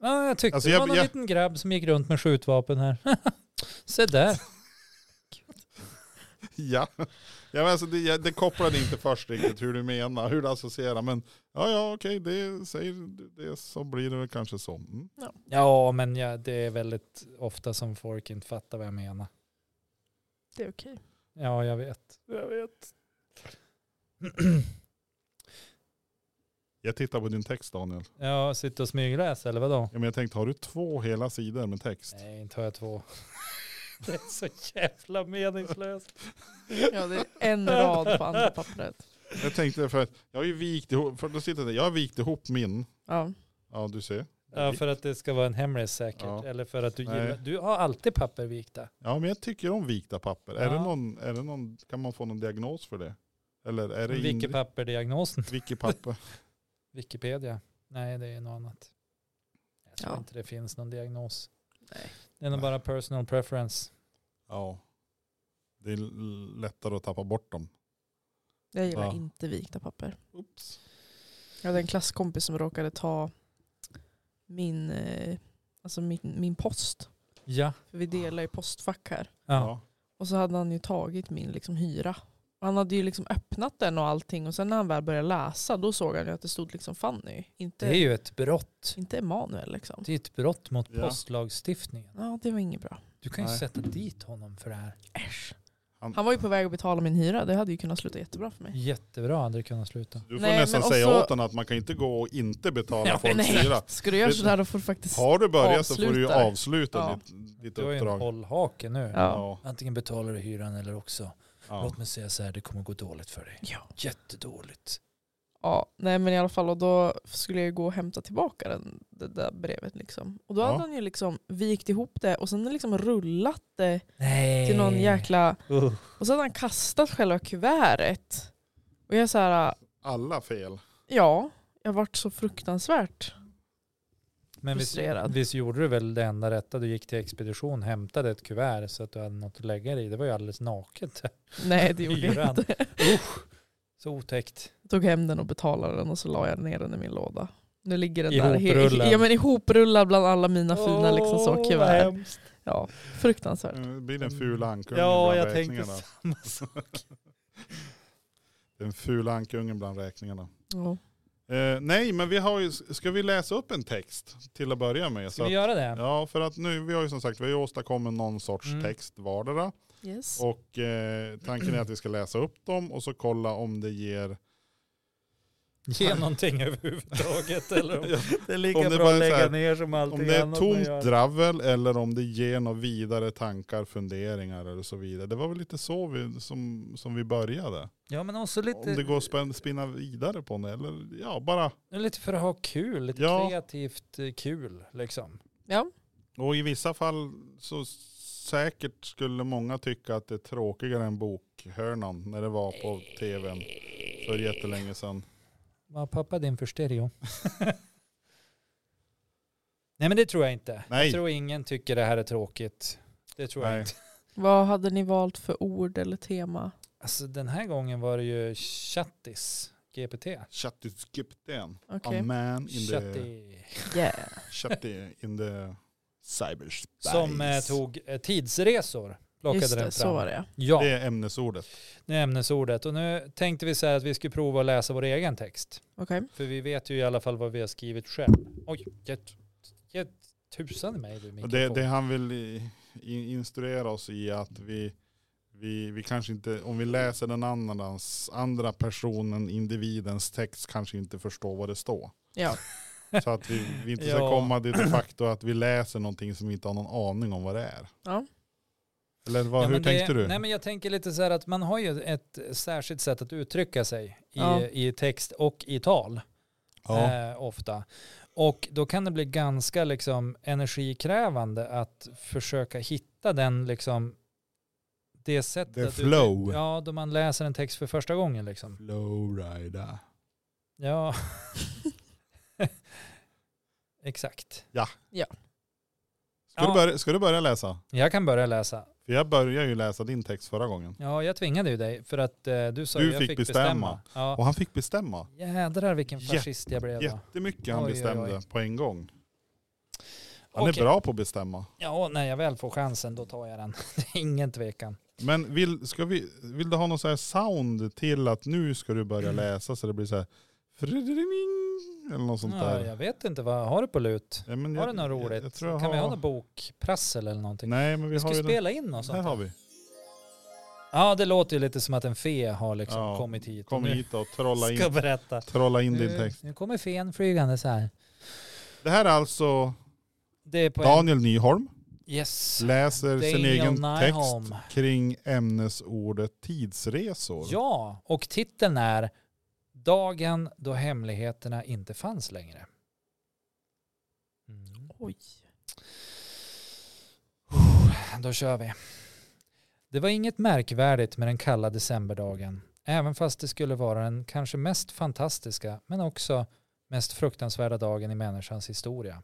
Ja, jag tyckte Alltså, det jag- var någon jag- liten grabb som gick runt med skjutvapen här. Se där. Ja, ja men alltså, det, jag, det kopplade inte först riktigt hur du menar, hur du associerar. Men ja ja okej, det säger det så blir det väl kanske så. Mm. Ja men ja, det är väldigt ofta som folk inte fattar vad jag menar. det är okej. Ja jag vet. Jag vet. Jag tittar på din text Daniel. Ja, sitter och smygläser eller vadå? Ja, men jag tänkte, har du två hela sidor med text? Nej, inte har jag två. Det är så jävla meningslöst. Ja, det är en rad på andra pappret. Jag tänkte för att jag har ju vikt ihop, för då sitter det, jag har vikt ihop min. Ja. Ja du ser. Ja, för att det ska vara en hemlis säkert. Ja. Eller för att du Nej. gillar. Du har alltid papper vikta. Ja men jag tycker om vikta papper. Är, det Ja. någon, är det någon, kan man få någon diagnos för det? Eller är det Vilket papper diagnosen? Wikipapper. Wikipedia. Nej, det är något annat. Jag tror Ja. inte det finns någon diagnos. Nej. Det är nog Nej. bara personal preference. Ja. Det är l- lättare att tappa bort dem. Jag gillar Ja. inte vikta papper. Oops. Jag hade en klasskompis som råkade ta min, eh, alltså min, min post. Ja. För vi delar ju postfack här. ja. Och så hade han ju tagit min liksom, hyra. Och Han hade ju liksom öppnat den och allting och sen när han väl började läsa då såg han ju att det stod liksom Fanny, Det inte, är ju ett brott. inte Emanuel liksom. Det är ett brott mot Ja. postlagstiftningen. Ja det var inget bra. Du kan ju Nej. sätta dit honom för det här. Äsch. Han- Han var ju på väg att betala min hyra, det hade ju kunnat sluta jättebra för mig. Jättebra hade det kunnat sluta. Du får Nej, nästan men säga också- åt honom att man kan inte gå och inte betala Ja, folks nej. hyra. Ska du göra sådär då får du faktiskt... Har du börjat så får du ju Avsluta det. avsluta Ja. ditt, ditt Du har ju en uppdrag. hållhake nu. Ja. Antingen betalar du hyran eller också. ja. Låt mig säga så här, det kommer gå dåligt för dig. Ja. Jättedåligt. ja. Nej men i alla fall och då skulle jag ju gå och hämta tillbaka den, det där brevet liksom. Och då Ja. hade han ju liksom vikt ihop det och sen liksom rullat det Nej. till någon jäkla... Uh. Och så hade han kastat själva kuvertet. Och jag så här, Alla fel. ja, jag vart så fruktansvärt. Men visst, Frustrerad. visst gjorde du väl det enda rätta? Du gick till expedition, hämtade ett kuvert så att du hade något att lägga dig i. Det var ju alldeles naket. Nej det gjorde jag Hyran. inte. Usch, så otäckt. Jag tog hem den och betalade den och så la jag ner den i min låda. Nu ligger den där Ihoprullad. he- ja, men ihoprullad bland alla mina fina liksom, så, Åh, vad kuvert. hemskt. Ja, fruktansvärt. Mm. Det blir en ful ankungen Ja, bland jag tänkte räkningarna. samma sak. Den fula ankungen bland räkningarna. Ja. Eh, nej, men vi har ju, ska vi läsa upp en text till att börja med? Så Ska vi att, göra det? ja, för att nu, vi har ju som sagt, vi har ju åstadkommit någon sorts Mm. text vardera. Yes. Och eh, tanken är att vi ska läsa upp dem och så kolla om det ger ge någonting överhuvudtaget. Eller om, Ja, det är lika Om det bra bara är att lägga så här, ner som allting Om det är annat man gör. tomt dravel eller om det ger några vidare tankar, funderingar eller så vidare. Det var väl lite så vi, som, som vi började. Ja men också lite, Om det går att spän- spinna vidare på det eller ja, bara. lite för att ha kul, lite Ja. kreativt eh, kul liksom. Ja, Och i vissa fall så säkert skulle många tycka att det är tråkigare än bokhörnan när det var på tvn för jättelänge sedan. Vad pappa din för stereo? Nej men det tror jag inte. Nej. Jag tror ingen tycker det här är tråkigt. Det tror Nej. jag inte. vad hade ni valt för ord eller tema? Alltså den här gången var det ju chattis, GPT. Chattiskypten. Okej. A man in the, Chatti. Yeah. chatty in the cyberspace. Som eh, tog eh, tidsresor. Plockade Just den fram. det, så var det. Ja, Det är ämnesordet. det är ämnesordet. Och nu tänkte vi så här att vi skulle prova att läsa vår egen text. Okej. För vi vet ju i alla fall vad vi har skrivit själv. Oj, ge, ge tusan i mig du Och Det, mikrofon. det han vill i- i- instruera oss i är att vi, vi, vi kanske inte, om vi läser den annans, andra personen, individens text, kanske inte förstår vad det står. Ja. Så att vi, vi inte ska Ja. komma dit de facto att vi läser någonting som vi inte har någon aning om vad det är. Ja. Eller vad, Ja, hur men det- tänkte du? Nej, men jag tänker lite så här att man har ju ett särskilt sätt att uttrycka sig i, Ja. i text och i tal ja. eh, ofta. Och då kan det bli ganska liksom, energikrävande att försöka hitta den liksom, det sättet. The att uttrycka- flow. Ja, då man läser en text för första gången. Liksom. Flowrider. Ja. Exakt. Ska, du Ja. börja, ska du börja läsa? Jag kan börja läsa. För jag började ju läsa din text förra gången. Ja, jag tvingade ju dig för att eh, du sa Du ju jag fick fick, bestämma. bestämma. Ja. Och han fick bestämma. Jädrar vilken Jätte- fascist jag blev. då. Jättemycket han Oj, oj, bestämde oj. på en gång. Han Okej. är bra på att bestämma. Ja, när jag väl får chansen då tar jag den. Det är ingen tvekan. Men vill, ska vi, vill du ha någon så här sound till att nu ska du Mm. börja läsa så det blir så här fridring, eller något sånt Ja, där? jag vet inte, vad har du på lut? Ja, men Har jag- du något roligt? Jag, jag tror jag kan har, vi ha något bokprassel eller någonting? Nej men vi, vi har ska ju spela in något den. Här sånt. har vi. Ja, det låter ju lite som att en fe har liksom Ja, kommit hit. och Kom nu hit och trolla Ska Eh, in, berätta. trolla in din Nu- text. Nu kommer fen flygande så här. Det här är alltså Det är på Daniel Nyholm. en... Yes. Läser sin Daniel egen Nyholm. text kring ämnesordet tidsresor. Ja, och titeln är Dagen då hemligheterna inte fanns längre. Mm. Oj. Då kör vi. Det var inget märkvärdigt med den kalla decemberdagen, även fast det skulle vara den kanske mest fantastiska, men också mest fruktansvärda dagen i människans historia.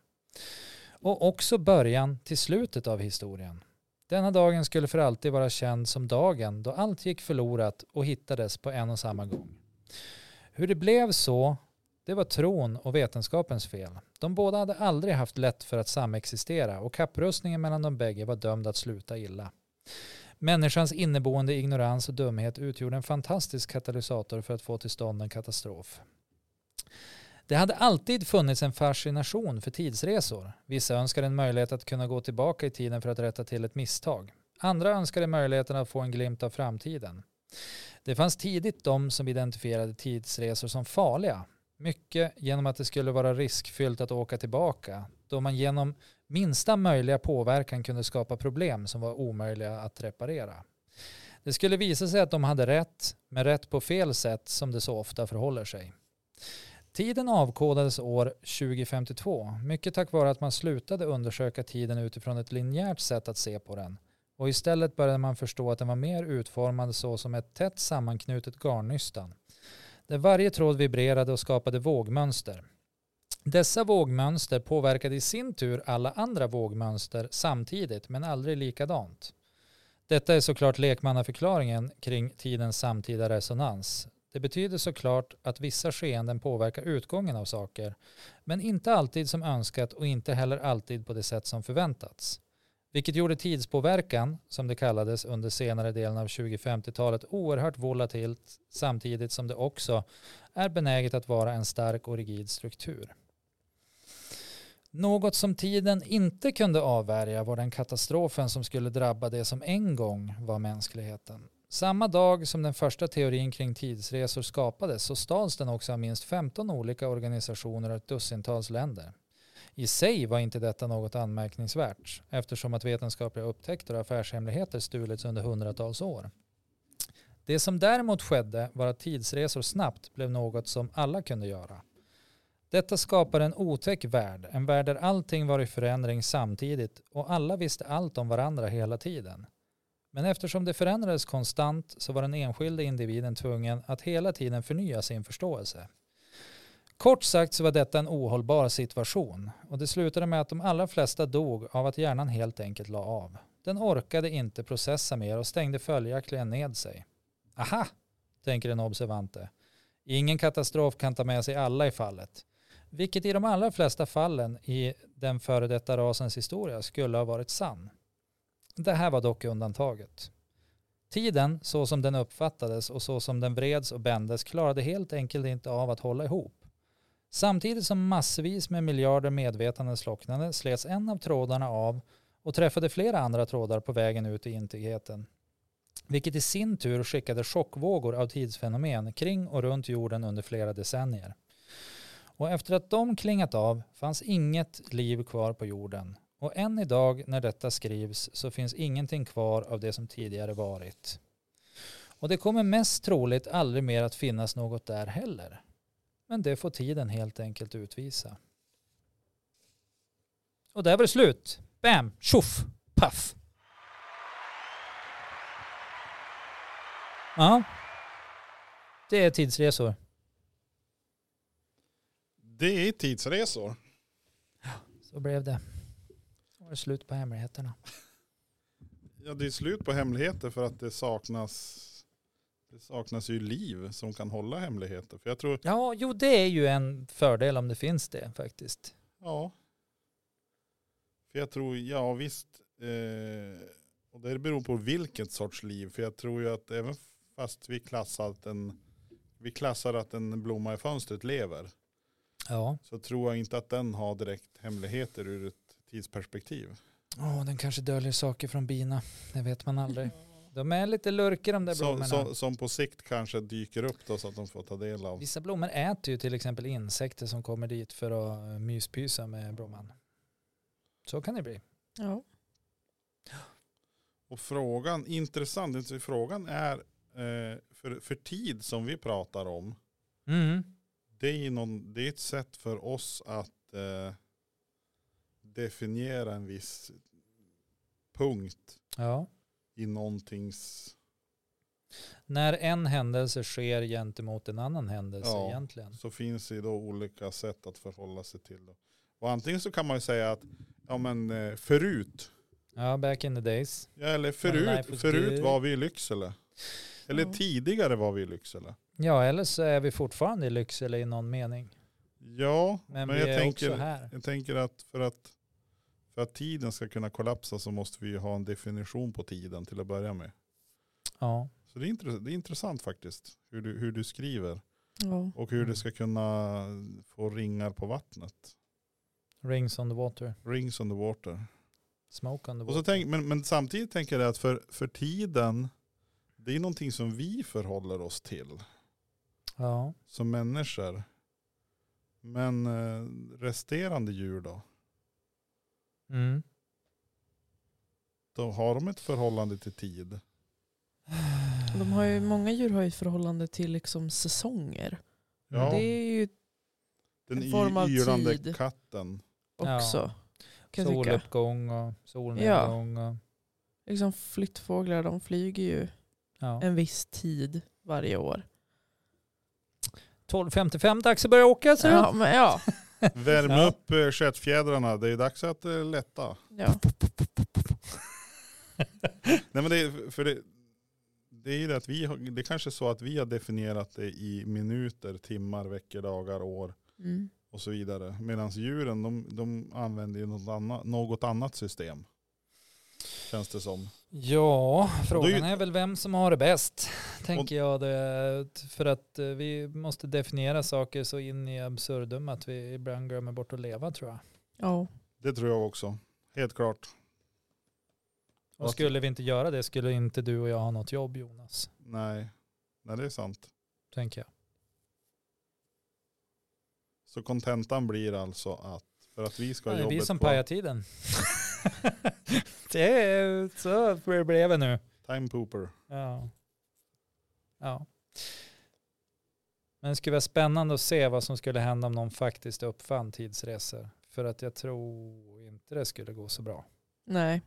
Och också början till slutet av historien. Denna dagen skulle för alltid vara känd som dagen då allt gick förlorat och hittades på en och samma gång. Hur det blev så, det var tron och vetenskapens fel. De båda hade aldrig haft lätt för att samexistera och kapprustningen mellan de bägge var dömd att sluta illa. Människans inneboende ignorans och dumhet utgjorde en fantastisk katalysator för att få till stånd en katastrof. Det hade alltid funnits en fascination för tidsresor. Vissa önskade en möjlighet att kunna gå tillbaka i tiden för att rätta till ett misstag. Andra önskade möjligheten att få en glimt av framtiden. Det fanns tidigt de som identifierade tidsresor som farliga, mycket genom att det skulle vara riskfyllt att åka tillbaka då man genom minsta möjliga påverkan kunde skapa problem som var omöjliga att reparera. Det skulle visa sig att de hade rätt, men rätt på fel sätt som det så ofta förhåller sig. Tiden avkodades år 2052, mycket tack vare att man slutade undersöka tiden utifrån ett linjärt sätt att se på den och istället började man förstå att den var mer utformad så som ett tätt sammanknutet garnnystan där varje tråd vibrerade och skapade vågmönster. Dessa vågmönster påverkade i sin tur alla andra vågmönster samtidigt men aldrig likadant. Detta är såklart lekmannaförklaringen kring tidens samtida resonans. Det betyder såklart att vissa skeenden påverkar utgången av saker, men inte alltid som önskat och inte heller alltid på det sätt som förväntats. Vilket gjorde tidspåverkan, som det kallades under senare delen av 2050-talet, oerhört volatilt samtidigt som det också är benäget att vara en stark och rigid struktur. Något som tiden inte kunde avvärja var den katastrofen som skulle drabba det som en gång var mänskligheten. Samma dag som den första teorin kring tidsresor skapades så stals den också av minst 15 olika organisationer och ett dussintals länder. I sig var inte detta något anmärkningsvärt eftersom att vetenskapliga upptäckter och affärshemligheter stulits under hundratals år. Det som däremot skedde var att tidsresor snabbt blev något som alla kunde göra. Detta skapade en otäck värld, en värld där allting var i förändring samtidigt och alla visste allt om varandra hela tiden. Men eftersom det förändrades konstant så var den enskilde individen tvungen att hela tiden förnya sin förståelse. Kort sagt så var detta en ohållbar situation och det slutade med att de allra flesta dog av att hjärnan helt enkelt la av. Den orkade inte processa mer och stängde följaktligen ned sig. Aha, tänker den observante. Ingen katastrof kan ta med sig alla i fallet. Vilket i de allra flesta fallen i den före detta rasens historia skulle ha varit sann. Det här var dock undantaget. Tiden, så som den uppfattades och så som den vreds och bändes, klarade helt enkelt inte av att hålla ihop. Samtidigt som massvis med miljarder medvetanden slocknade slets en av trådarna av och träffade flera andra trådar på vägen ut i intigheten. Vilket i sin tur skickade chockvågor av tidsfenomen kring och runt jorden under flera decennier. Och efter att de klingat av fanns inget liv kvar på jorden. Och än idag när detta skrivs så finns ingenting kvar av det som tidigare varit. Och det kommer mest troligt aldrig mer att finnas något där heller. Men det får tiden helt enkelt utvisa. Och där var det slut. Bam, tjoff, paff. Ja. Det är tidsresor. Det är tidsresor. Så blev det. Så var det slut på hemligheterna. Ja, det är slut på hemligheter för att det saknas det saknas ju liv som kan hålla hemligheter. För jag tror, Ja, jo det är ju en fördel om det finns det faktiskt. ja. För jag tror, ja visst. Eh, och det beror på vilket sorts liv. För jag tror ju att även fast vi klassar att en, vi klassar att en blomma i fönstret lever. Ja. Så tror jag inte att den har direkt hemligheter ur ett tidsperspektiv. Åh, den kanske döljer saker från bina. Det vet man aldrig. De är lite lurkiga de där Som, blommorna. som, som på sikt kanske dyker upp då så att de får ta del av. Vissa blommor äter ju till exempel insekter som kommer dit för att myspysa med blomman. Så kan det bli. Ja. Och frågan, intressant, så frågan är eh, för, för tid som vi pratar om. Mm. Det är, ju någon, det är ett sätt för oss att eh, definiera en viss punkt Ja. i någontings... När en händelse sker gentemot en annan händelse Ja. egentligen. Så finns det då olika sätt att förhålla sig till. Då. Och antingen så kan man ju säga att ja, men, eh, förut, Ja, back in the days. ja, eller life förut, was förut good. var vi i Lycksele. Eller Ja. tidigare var vi i Lycksele. Ja, eller så är vi fortfarande i Lycksele i någon mening. Ja, Men, men, vi jag, är också tänker, här. jag tänker att för, att för att tiden ska kunna kollapsa så måste vi ju ha en definition på tiden till att börja med. Ja. Så det är, intress- det är intressant faktiskt hur du, hur du skriver ja. och hur det ska kunna få ringar på vattnet. Rings on the water. Rings on the water. Smoke on the Och så water. tänk, men, men samtidigt tänker jag att för, för tiden, det är någonting som vi förhåller oss till Ja. som människor. Men eh, resterande djur då? Mm. då? Har de ett förhållande till tid? De har ju, många djur har ju ett förhållande till liksom säsonger. Ja. Det är ju Den En form av y- ylande tid. katten. Ja. också. Kan jag tycka. Soluppgång och solnedgång. Och, Liksom flyttfåglar de flyger ju ja. en viss tid varje år. 12.55 dags att börja åka ser du. Ja, men ja. Värm Ja. upp eh, stjärtfjädrarna, det är dags att eh, lätta. ja. Nej men det, är- för det, det är ju det att vi har, det är kanske är så att vi har definierat det i minuter, timmar, veckor, dagar, år Mm. och så vidare. Medan djuren de, de använder ju något annat, något annat system. Känns det som. Ja, frågan ju- är väl vem som har det bäst. Tänker jag det. För att eh, vi måste definiera saker så in i absurdum att vi ibland glömmer bort att leva tror jag. ja. Det tror jag också. Helt klart. Och skulle vi inte göra det skulle inte du och jag ha något jobb Jonas, Nej. Nej, det är sant. tänker jag. Så kontentan blir alltså att för att vi ska Ja, ha det är jobbet vi som kvar, pajar tiden. det är så blev det nu. time pooper. Ja. ja. Men det skulle vara spännande att se vad som skulle hända om någon faktiskt uppfann tidsresor. För att jag tror inte det skulle gå så bra. Nej,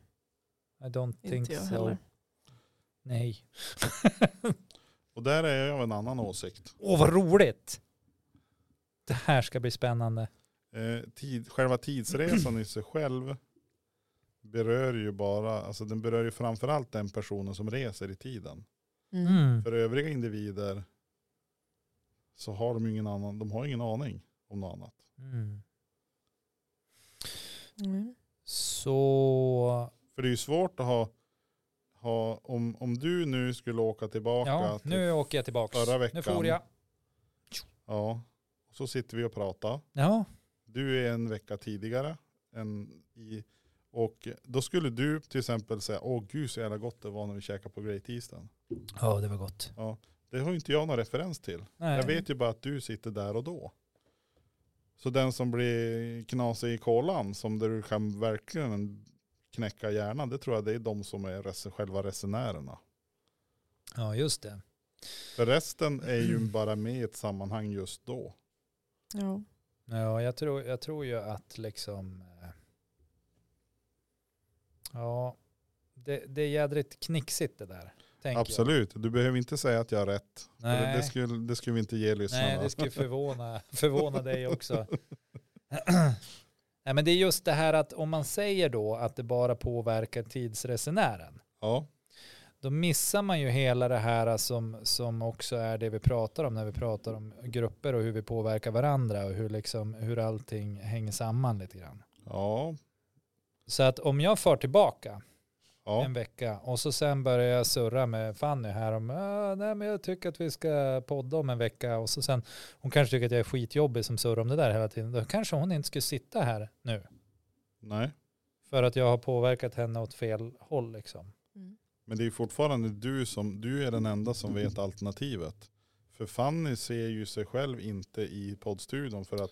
I don't think inte jag so. heller. Nej. Och där är jag av en annan åsikt. Åh vad roligt! Det här ska bli spännande. Eh, tid, själva tidsresan i sig själv berör ju bara, alltså den berör ju framförallt den personen som reser i tiden. Mm. Mm. För övriga individer så har de ju ingen annan, de har ingen aning om något annat. Mm. Mm. Så, För det är ju svårt att ha, ha om, om du nu skulle åka tillbaka ja, till, nu åker jag tillbaka. förra Nu veckan. får jag. ja, och så sitter vi och pratar. Ja, Du är en vecka tidigare. Än i, och då skulle du till exempel säga, åh gud så jävla gott det var när vi käkade på Great Eastern. ja det var gott. Det har ju inte jag någon referens till. Nej. Jag vet ju bara att du sitter där och då. Så den som blir knasig i kolan, som där du kan verkligen knäcka hjärnan, det tror jag det är de som är rese- själva resenärerna. Ja, just det. För resten är ju Mm. bara med i ett sammanhang just då. Ja. Ja, jag tror, jag tror ju att liksom... eh, Ja, det, det är jädrigt knixigt det där. tänker Absolut, du behöver inte säga att jag har rätt. Jag. Nej, För Det, skulle, det skulle vi inte ge lyssnarna. nej, det skulle förvåna, förvåna dig också. nej, men det är just det här att om man säger då att det bara påverkar tidsresenären, Ja, då missar man ju hela det här som, som också är det vi pratar om när vi pratar om grupper och hur vi påverkar varandra och hur, liksom, hur allting hänger samman lite grann. ja, Så att om jag far tillbaka ja. en vecka och så sen börjar jag surra med Fanny här om "Ah, nej men jag tycker att vi ska podda om en vecka och så sen hon kanske tycker att jag är skitjobbig som surrar om det där hela tiden då kanske hon inte skulle sitta här nu Nej. för att jag har påverkat henne åt fel håll liksom. Mm. Men det är ju fortfarande du som, du är den enda som vet alternativet. För Fanny ser ju sig själv inte i poddstudion för att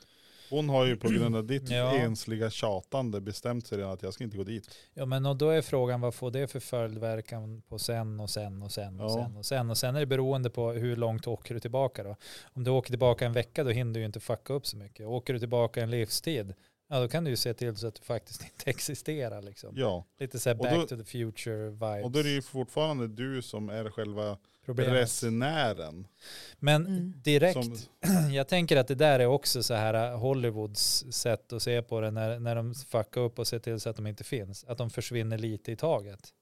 hon har ju på grund av ditt Ja. ensliga tjatande bestämt sig redan att jag ska inte gå dit. Ja men och då är frågan vad får det för följdverkan på sen och sen och sen och Ja. sen och sen och sen är det beroende på hur långt åker du tillbaka då. Om du åker tillbaka en vecka då hinner du ju inte fucka upp så mycket. Åker du tillbaka en livstid Ja då kan du ju se till så att du faktiskt inte existerar liksom. Ja, Lite så här Och back då- to the future vibes. och då är det ju fortfarande du som är själva Problemet. resenären. Men Mm. direkt, Som, jag tänker att det där är också så här eh, Hollywoods sätt att se på det när, när de fuckar upp och ser till så att de inte finns. Att de försvinner lite i taget.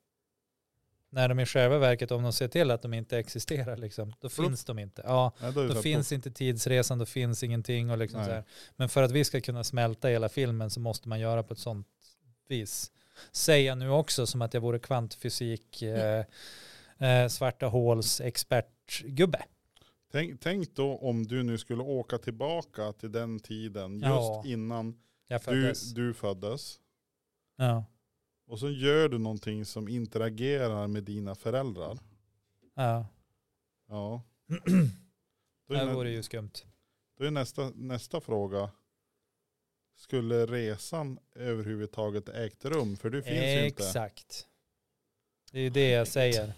När de i själva verket, om de ser till att de inte existerar, liksom, då finns de inte. Ja, nej, då är det så då här, finns inte tidsresan, då finns ingenting. Och liksom Nej. så här. Men för att vi ska kunna smälta hela filmen så måste man göra på ett sånt vis. Säger jag nu också som att jag vore kvantfysik, eh, eh, svarta håls expertgubbe. Tänk, tänk då om du nu skulle åka tillbaka till den tiden just Ja. innan Jag du, föddes. du föddes. Ja. Och så gör du någonting som interagerar med dina föräldrar. Ja. Ja. Då Det är här nä- vore ju skumt. Då är nästa, nästa fråga. Skulle resan överhuvudtaget ägt rum? För du finns ju inte. Exakt. Det är ju det jag säger.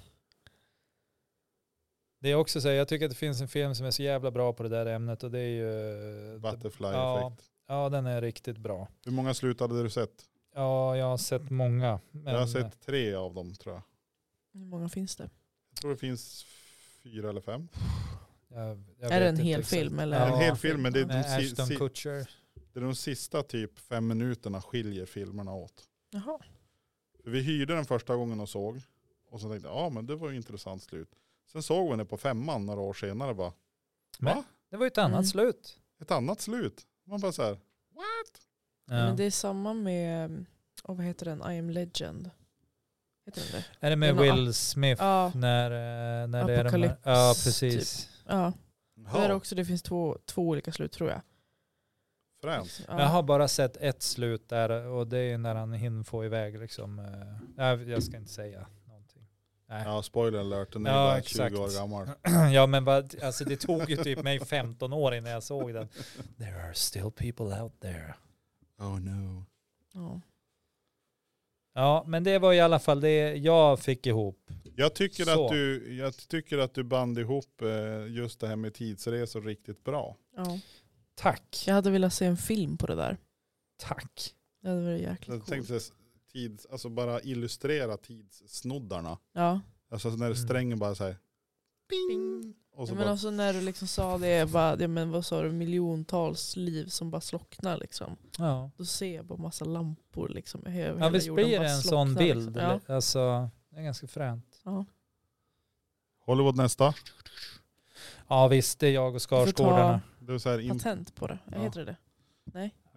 Det är också så här, jag tycker att det finns en film som är så jävla bra på det där ämnet och det är ju... Butterfly Ja. effekt. Ja, den är riktigt bra. Hur många slut hade du sett? Ja, jag har sett många. Men, Jag har sett tre av dem tror jag. Hur många finns det? Jag tror det finns fyra eller fem. jag- jag är det vet en inte hel exakt. film? Eller? Ja, en hel film, men det är, Med de, si, Ashton si, Kutcher. det är de sista typ fem minuterna skiljer filmerna åt. Jaha. För vi hyrde den första gången och såg. Och så tänkte jag, ja men det var ju intressant slut. Sen såg vi den på femman några år senare bara, Det var ju ett annat Mm. slut. ett annat slut. Man bara så här, Ja. Men det är samma med, oh, vad heter den, I am legend. Heter den det? är det med den har- Will Smith? Ja. typ. När, eh, när det är de här, Apocalypse, Ja, precis. ja. "Jaha." Där också, det finns två, två olika slut tror jag. Fränt. Ja. Men jag har bara sett ett slut där och det är när han hinner få iväg liksom. eh, nej, jag ska inte säga någonting. Nej. Ja, spoiler alert, den är Ja, bara 20 exakt. år gammal. Ja men vad, alltså det tog ju typ mig 15 år innan jag såg den. There are still people out there. Oh no. Ja. Ja men det var i alla fall det jag fick ihop. Jag tycker, Så. att du, jag tycker att du band ihop eh, just det här med tidsresor riktigt bra. Ja. Tack. Jag hade velat se en film på det där. Tack. Det hade varit jäkligt Jag coolt. tänkte så här, tids, alltså bara illustrera tidssnoddarna. Ja. Alltså Mm. när strängen bara så här, Bing. och så Ja, men bara, också när du liksom sa det, jag bara, ja, men vad sa du, miljontals liv som bara slocknar liksom. Ja. Då ser jag bara massa lampor liksom. över Ja hela visst jorden blir bara det en sån slocknar, bild. Liksom. Ja. eller? Alltså det är ganska fränt. Hollywood nästa. Ja visst det är jag och ta- Skarsgårdarna. Det är, så här, in, Patent på det, jag Ja. heter det det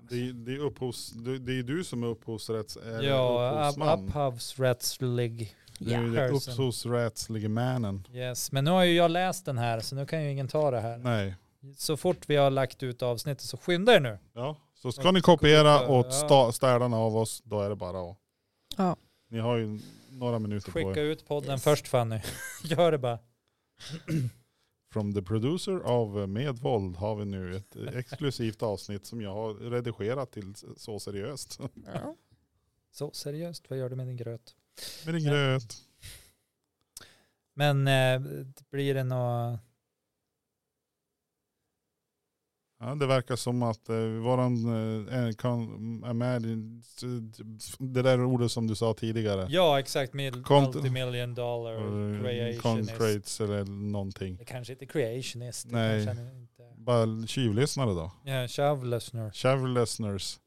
det, är- det, är upphovs, det, det är du som är upphovsrätts, eller Ja, upphovsman. upphovsrättslig. Du är den person. upphovsrättslige mannen. Yes. Men nu har ju jag läst den här så nu kan ju ingen ta det här. Nej. Så fort vi har lagt ut avsnittet så skynda er nu. Ja, så ska Och ni kopiera kopiera, åt ja. sta- städarna av oss, då är det bara att... Ja. Ni har ju några minuter på Skicka er. ut podden Yes. först Fanny. Gör det bara. From the producer av eh, Med våld har vi nu ett eh, exklusivt avsnitt som jag har redigerat till Så seriöst. Ja. Så seriöst, vad gör du med din gröt? Med din gröt. Men eh, blir det något... Ja, det verkar som att eh, våran eh, kan, imagine, det där ordet som du sa tidigare. Ja, exakt. Mil- Kont- multimillion dollar Eh, creationist. Concrates eller någonting. Det kanske inte är creationist. det Nej. kanske han inte- Bara tjuvlyssnare då. Ja, Shavlesner. Tjuvlyssners.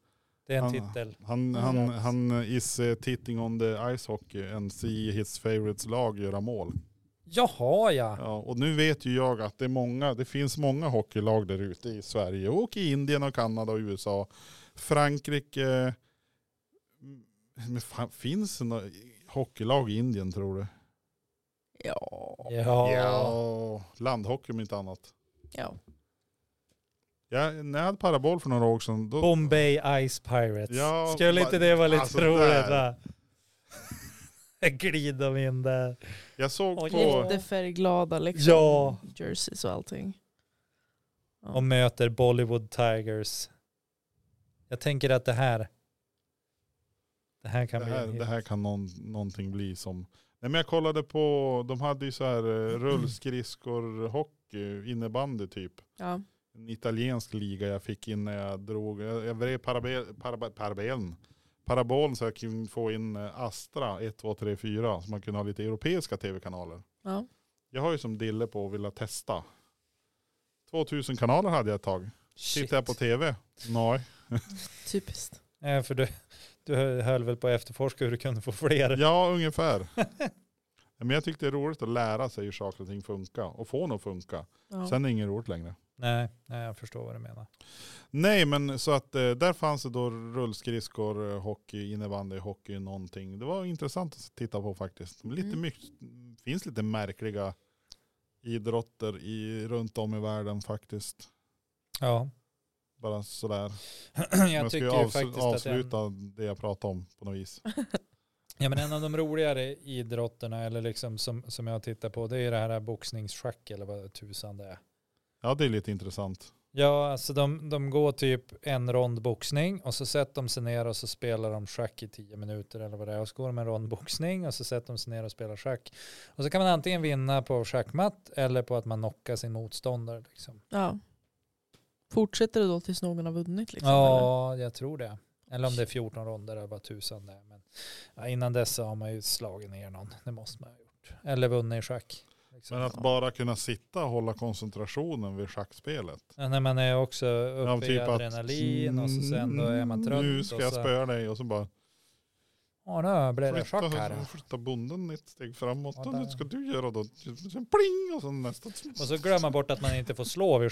Det är en Han- titel. Han, Mm. han, han is eh, titting on the ice hockey and see his favorites lag göra mål. Jaha ja. Ja, och nu vet ju jag att det, är många, det finns många hockeylag där ute i Sverige och i Indien och Kanada och USA. Frankrike. eh, Men fan, finns det några hockeylag i Indien tror du? Ja. Ja. Landhockey om inte annat. ja. Jag, när jag hade parabol för några år sedan. Då, Bombay Ice Pirates. Ja, Skulle va- inte det vara lite alltså, roligt där. va? Glida mig in där. jag såg Oj. på... Lite färgglada liksom. Ja. Jerseys och allting. Ja. och möter Bollywood Tigers. Jag tänker att det här det här kan Det bli här, en hit. det här kan någon, någonting bli som... Nej men jag kollade på, de hade ju så här eh, rullskridskor, hockey, innebandy typ. ja. En italiensk liga jag fick in när jag drog, jag, jag vred parabel, parabel, parabelen. Parabolen så jag kunde få in eh, Astra 1, 2, 3, 4. Så man kunde ha lite europeiska tv-kanaler. Ja. Jag har ju som dille på att vilja testa. 2000 kanaler hade jag ett tag. Shit. Tittar jag på tv? Nej. Typiskt. Eh, för du, du höll väl på att efterforska hur du kunde få fler. Ja, ungefär. Men jag tyckte det är roligt att lära sig hur saker och ting funkar och få något att funka. Ja. Sen är det inget roligt längre. Nej, nej, jag förstår vad du menar. Nej, men så att eh, där fanns det då rullskridskor, eh, hockey, innebandy, hockey, någonting. Det var intressant att titta på faktiskt. Lite Mm. mycket, finns lite märkliga idrotter i, runt om i världen faktiskt. Ja, Bara sådär. jag ska ju tycker ju avs- faktiskt att en, avsluta det jag pratade om på något vis. ja, men en av de roligare idrotterna eller liksom som, som jag tittar på det är det här boxningsschack eller vad tusan det är. Ja, det är lite intressant. Ja, alltså de, de går typ en rond boxning och så sätter de sig ner och så spelar de schack i tio minuter eller vad det är. Och så går de en rond boxning och så sätter de sig ner och spelar schack. Och så kan man antingen vinna på schackmatt eller på att man knockar sin motståndare. Liksom. Ja. Fortsätter det då tills någon har vunnit? Liksom, Ja, jag tror det. Eller om det är 14 ronder eller vad tusan det är. Men ja, innan dess så har man ju slagit ner någon. Det måste man ha gjort. Eller vunnit i schack. Liksom. Men att bara kunna sitta och hålla koncentrationen vid schackspelet. Ja, när man är också uppe Ja, i typ att, adrenalin och så sen då är man "Mm, trött. Nu ska och jag så, spöa dig och så bara Ja, nu blir det schack här. flytta, flytta bonden ett steg framåt. Ja, och där. nu ska du göra då. Sen pling och så nästa. Och så glömmer man bort att man inte får slå vid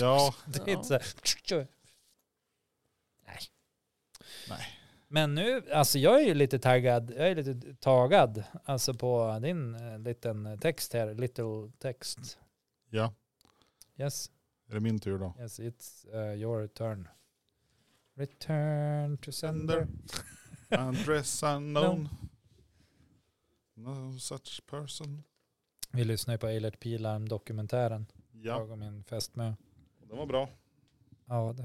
Ja, Det är Ja. inte så här. Nej. Nej. Men nu, alltså jag är ju lite taggad, jag är lite tagad, alltså på din eh, liten text här, little text. ja. Yes, Är det min tur då? yes, it's eh, your turn. Return to sender. Andress unknown. No such person. Vi lyssnar ju på Eilert Pilarm dokumentären. Ja, Jag och min fästmö. den var bra. Ja, det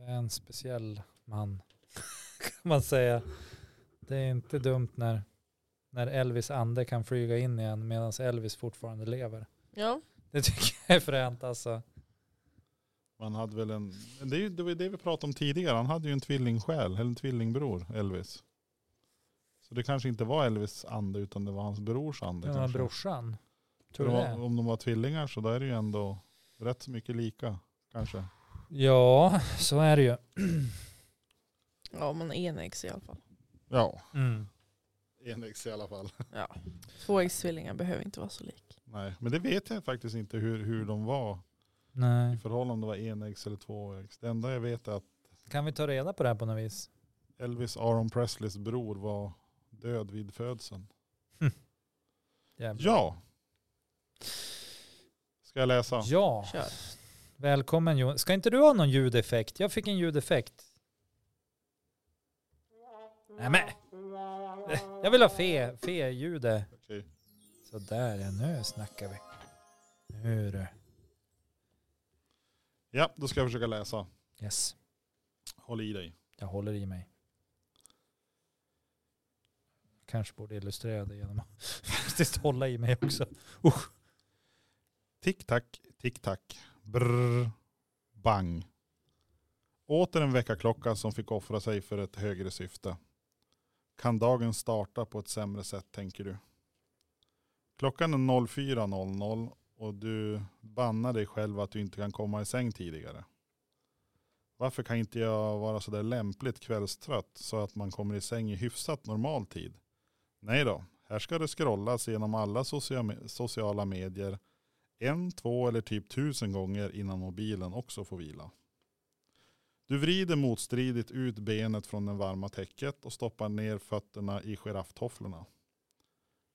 är en speciell man kan man säga. Det är inte dumt när, när Elvis ande kan flyga in igen medan Elvis fortfarande lever. Ja. Det tycker jag är fränt alltså. Man hade väl en, det, är ju- det var ju det vi pratade om tidigare. Han hade ju en tvillingsjäl, eller en tvillingbror, Elvis. Så det kanske inte var Elvis ande utan det var hans brors ande. Den här kanske. brorsan. För Tror du de, det? om de var tvillingar så då är det ju ändå rätt så mycket lika kanske. Ja, så är det ju. ja, men enäggs i alla fall. Ja, Mm. enäggs i alla fall. Ja. Tvåäggstvillingar behöver inte vara så lik. Nej, men det vet jag faktiskt inte hur, hur de var i Nej. förhållande om det var enäggs eller tvåäggs. Det enda jag vet är att Kan vi ta reda på det här på något vis? Elvis Aron Presleys bror var död vid födseln. Jävlar. Ja, ska jag läsa? Ja. Kör. Välkommen Johan. Ska inte du ha någon ljudeffekt? Jag fick en ljudeffekt. Nej men. Jag vill ha fe, fe-ljudet. Okej. Sådär ja, nu snackar vi. Nu du. Ja, då ska jag försöka läsa. Yes, Håll i dig. jag håller i mig. Kanske borde illustrera det genom att faktiskt hålla i mig också. Tick tack, tick tack. Brrr, bang. Åter en veckaklocka som fick offra sig för ett högre syfte. Kan dagen starta på ett sämre sätt tänker du? Klockan är 04.00 och du bannar dig själv att du inte kan komma i säng tidigare. Varför kan inte jag vara sådär lämpligt kvällstrött så att man kommer i säng i hyfsat normal tid? Nej då, här ska det scrollas genom alla socia- sociala medier en, två eller typ tusen gånger innan mobilen också får vila. Du vrider motstridigt ut benet från det varma täcket och stoppar ner fötterna i girafftofflorna.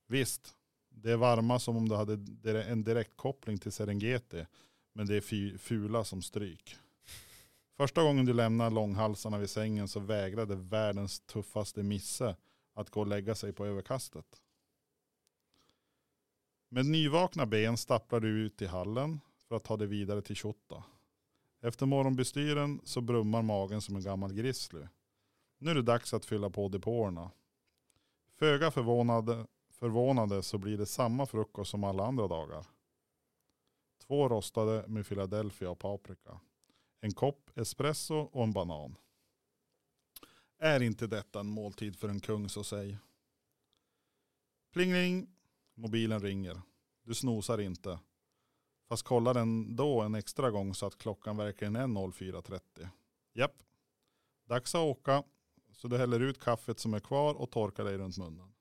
Visst, det är varma som om du hade dire- en direktkoppling till Serengeti, men det är fy- fula som stryk. Första gången du lämnar långhalsarna vid sängen så vägrade världens tuffaste misse att gå och lägga sig på överkastet. Med nyvakna ben stapplar du ut i hallen för att ta dig vidare till Tjotta. Efter morgonbestyren så brummar magen som en gammal grizzly. Nu är det dags att fylla på depåerna. Föga förvånade, förvånade så blir det samma frukost som alla andra dagar. Två rostade med Philadelphia och paprika. En kopp espresso och en banan. Är inte detta en måltid för en kung så säg. Plingling, mobilen ringer. Du snosar inte. Fast kollar den då en extra gång så att klockan verkligen är 04.30. Japp. Dags att åka. Så du häller ut kaffet som är kvar och torkar dig runt munnen.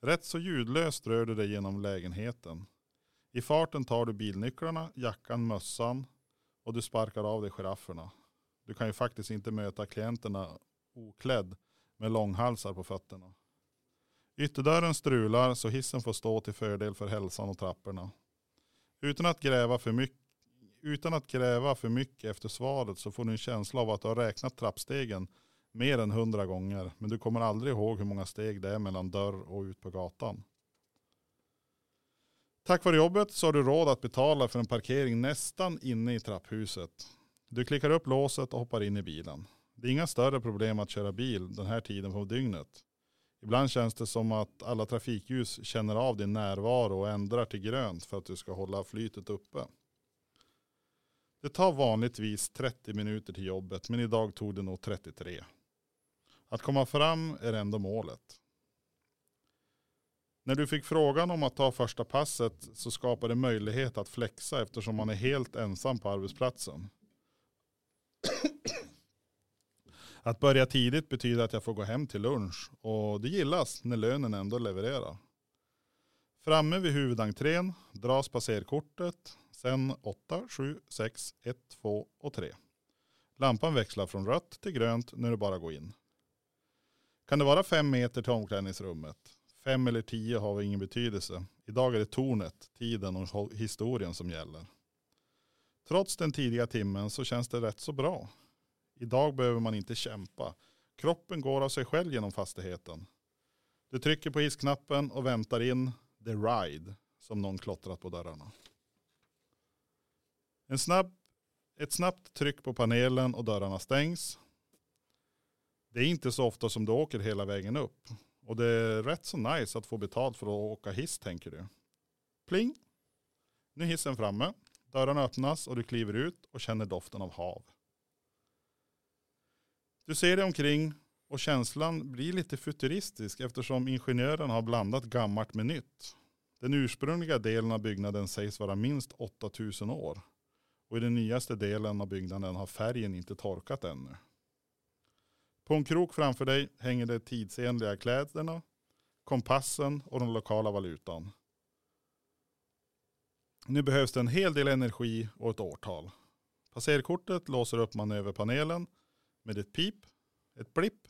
Rätt så ljudlöst rör du dig genom lägenheten. I farten tar du bilnycklarna, jackan, mössan och du sparkar av dig girafferna. Du kan ju faktiskt inte möta klienterna oklädd med långhalsar på fötterna. Ytterdörren strular så hissen får stå till fördel för hälsan och trapporna. Utan att gräva för mycket utan att gräva för mycket efter svaret så får du en känsla av att du har räknat trappstegen mer än hundra gånger. Men du kommer aldrig ihåg hur många steg det är mellan dörr och ut på gatan. Tack vare jobbet så har du råd att betala för en parkering nästan inne i trapphuset. Du klickar upp låset och hoppar in i bilen. Det är inga större problem att köra bil den här tiden på dygnet. Ibland känns det som att alla trafikljus känner av din närvaro och ändrar till grönt för att du ska hålla flytet uppe. Det tar vanligtvis 30 minuter till jobbet men idag tog det nog 33. Att komma fram är ändå målet. När du fick frågan om att ta första passet så skapade det möjlighet att flexa eftersom man är helt ensam på arbetsplatsen. Att börja tidigt betyder att jag får gå hem till lunch och det gillas när lönen ändå levererar. Framme vid huvudentrén dras passerkortet, sen 8, 7, 6, 1, 2 och 3. Lampan växlar från rött till grönt när du bara går in. Kan det vara fem meter till omklädningsrummet? Fem eller tio har väl ingen betydelse. Idag är det tornet, tiden och ho- historien som gäller. Trots den tidiga timmen så känns det rätt så bra. Idag behöver man inte kämpa. Kroppen går av sig själv genom fastigheten. Du trycker på hissknappen och väntar in the ride som någon klottrat på dörrarna. En snabb, ett snabbt tryck på panelen och dörrarna stängs. Det är inte så ofta som du åker hela vägen upp. Och det är rätt så nice att få betalt för att åka hiss tänker du. Pling! Nu är hissen framme. Dörrarna öppnas och du kliver ut och känner doften av hav. Du ser dig omkring och känslan blir lite futuristisk eftersom ingenjören har blandat gammalt med nytt. Den ursprungliga delen av byggnaden sägs vara minst 8000 år och i den nyaste delen av byggnaden har färgen inte torkat ännu. På en krok framför dig hänger de tidsenliga kläderna, kompassen och den lokala valutan. Nu behövs det en hel del energi och ett årtal. Passerkortet låser upp manöverpanelen med ett pip, ett blipp.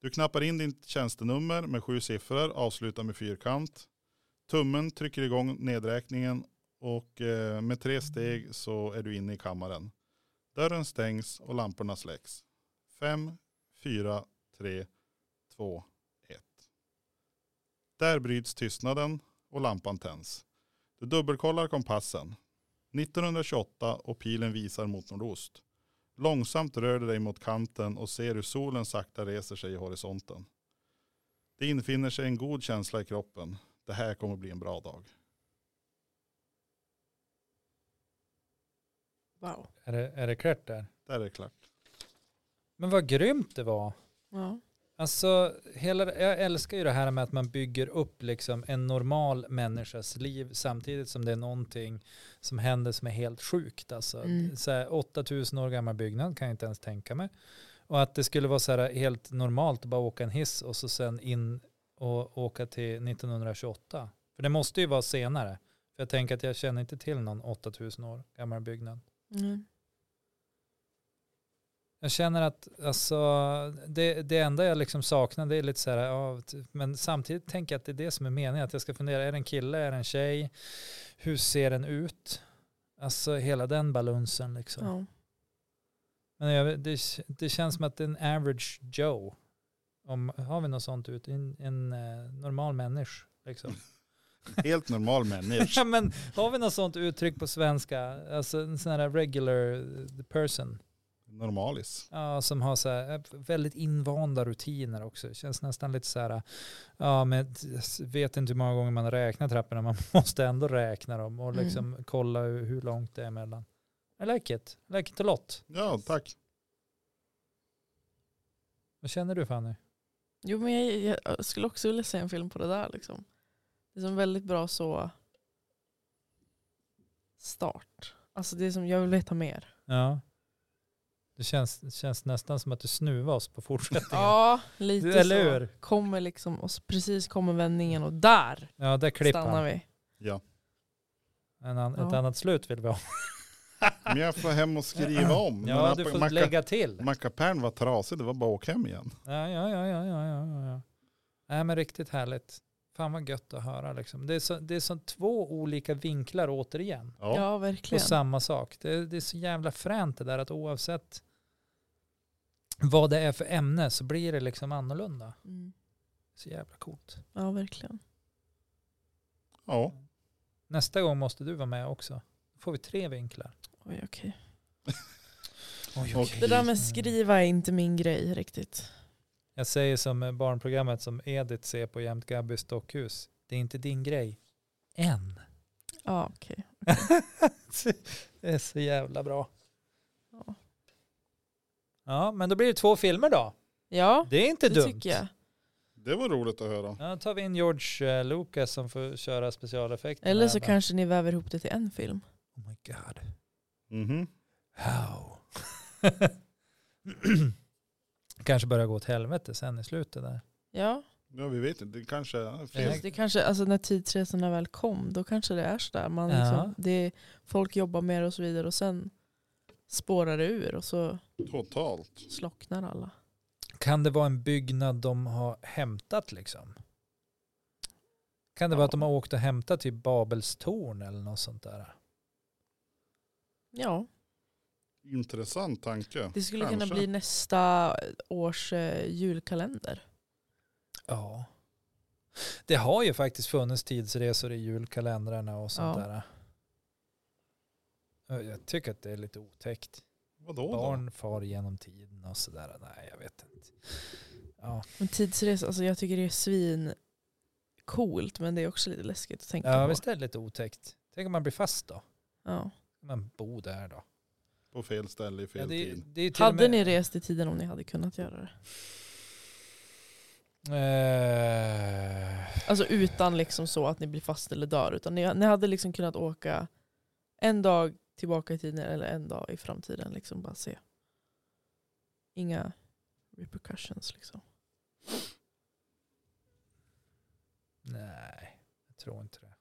Du knappar in ditt tjänstenummer med sju siffror, avslutar med fyrkant. Tummen trycker igång nedräkningen och eh, med tre steg så är du inne i kammaren. Dörren stängs och lamporna släcks. Fem, fyra, tre, två, ett. Där bryts tystnaden och lampan tänds. Du dubbelkollar kompassen. 1928 och pilen visar mot nordost. Långsamt rör du dig mot kanten och ser hur solen sakta reser sig i horisonten. Det infinner sig en god känsla i kroppen. Det här kommer bli en bra dag. Wow. Är det, är det klart där? Där är det klart. Men vad grymt det var. Ja. Alltså, hela, jag älskar ju det här med att man bygger upp liksom en normal människas liv samtidigt som det är någonting som händer som är helt sjukt. Alltså, Mm. så här, 8000 år gammal byggnad kan jag inte ens tänka mig. Och att det skulle vara så här helt normalt att bara åka en hiss och så sen in och åka till 1928. För det måste ju vara senare. För jag tänker att jag känner inte till någon 8000 år gammal byggnad. Mm. Jag känner att alltså, det, det enda jag liksom saknar det är lite så här, ja, t- men samtidigt tänker jag att det är det som är meningen, att jag ska fundera, är det en kille, är det en tjej, hur ser den ut? Alltså hela den balansen liksom. Ja. Men jag, det, det känns som att det är en average Joe. Om, har vi något sånt ut? En, en eh, normal människa liksom. Helt normal människa. Ja, men har vi något sånt uttryck på svenska? Alltså en sån här regular person. Normalis. Ja, som har så här eh, väldigt invanda rutiner också. Det känns nästan lite så här, eh, ja men jag vet inte hur många gånger man räknar trapporna, man måste ändå räkna dem och Mm. liksom kolla hur hur långt det är emellan. I like it, I like it a lot. Ja, tack. Vad känner du Fanny? Jo men jag, jag skulle också vilja se en film på det där liksom. Det är som väldigt bra så start. Alltså det är som, jag vill veta mer. Ja. Det känns, det känns nästan som att du snuvar oss på fortsättningen. Ja, lite Du, eller hur? så. Kommer liksom, och s- precis kommer vändningen och där Ja, där klipper stannar han. vi. Ja. En an, Ett Ja. annat slut vill vi ha. Men jag får hem och skriva om. Ja, Men du får macka- lägga till. Mackapärn var trasig, det var bara att åka hem igen. Ja, ja, ja, ja, ja, ja, ja, ja. Nej, men riktigt härligt. Fan vad gött att höra liksom. Det är, så, det är så två olika vinklar återigen Ja. Ja, på verkligen. samma sak. Det, det är så jävla fränt det där att oavsett vad det är för ämne så blir det liksom annorlunda. Mm. Så jävla coolt. Ja verkligen. ja. Nästa gång måste du vara med också. Då får vi tre vinklar. Oj, okej. Oj, Och- Det där med skriva är inte min grej riktigt. Jag säger som barnprogrammet som Edith ser på jämt Gabbys dockhus. Det är inte din grej. Än. Ja okej. det är så jävla bra. Ja. Ja, men då blir det två filmer då. Ja Det är inte det dumt. tycker jag. Det var roligt att höra. Ja, då tar vi in George eh, Lucas som får köra specialeffekter. Eller så kanske ni väver ihop det till en film. Oh my god. Mhm. How? kanske börjar gå åt helvete sen i slutet där. Ja, Ja, vi vet inte. Det kanske är Ja. fel. det kanske, alltså när tidsresorna väl kom då kanske det är sådär. Man Ja. liksom, det, folk jobbar mer och så vidare och sen spårar det ur och så Totalt. slocknar alla. Kan det vara en byggnad de har hämtat liksom? Kan det vara Ja. att de har åkt och hämtat typ Babels torn eller något sånt där? Ja, Intressant tanke. Det skulle kunna Kanske. bli nästa års eh, julkalender. Ja. Det har ju faktiskt funnits tidsresor i julkalendrarna och sånt Ja. där. Ja, Jag tycker att det är lite otäckt. Vadå då? Barn far genom tiden och sådär. Nej, jag vet inte. Ja, Men tidsresa, alltså jag tycker det är svin coolt men det är också lite läskigt att tänka ja på. visst är det lite otäckt. Tänk om man blir fast då. Ja. Man bor där då. På fel ställe i fel Ja, det, är- tid. det är ju till och Hade med- ni rest i tiden om ni hade kunnat göra det? Eh, Alltså utan liksom så att ni blir fast eller dör. Utan ni, ni hade liksom kunnat åka en dag tillbaka i tiden eller en dag i framtiden. Liksom bara se. Inga repercussions liksom. nej, jag tror inte det.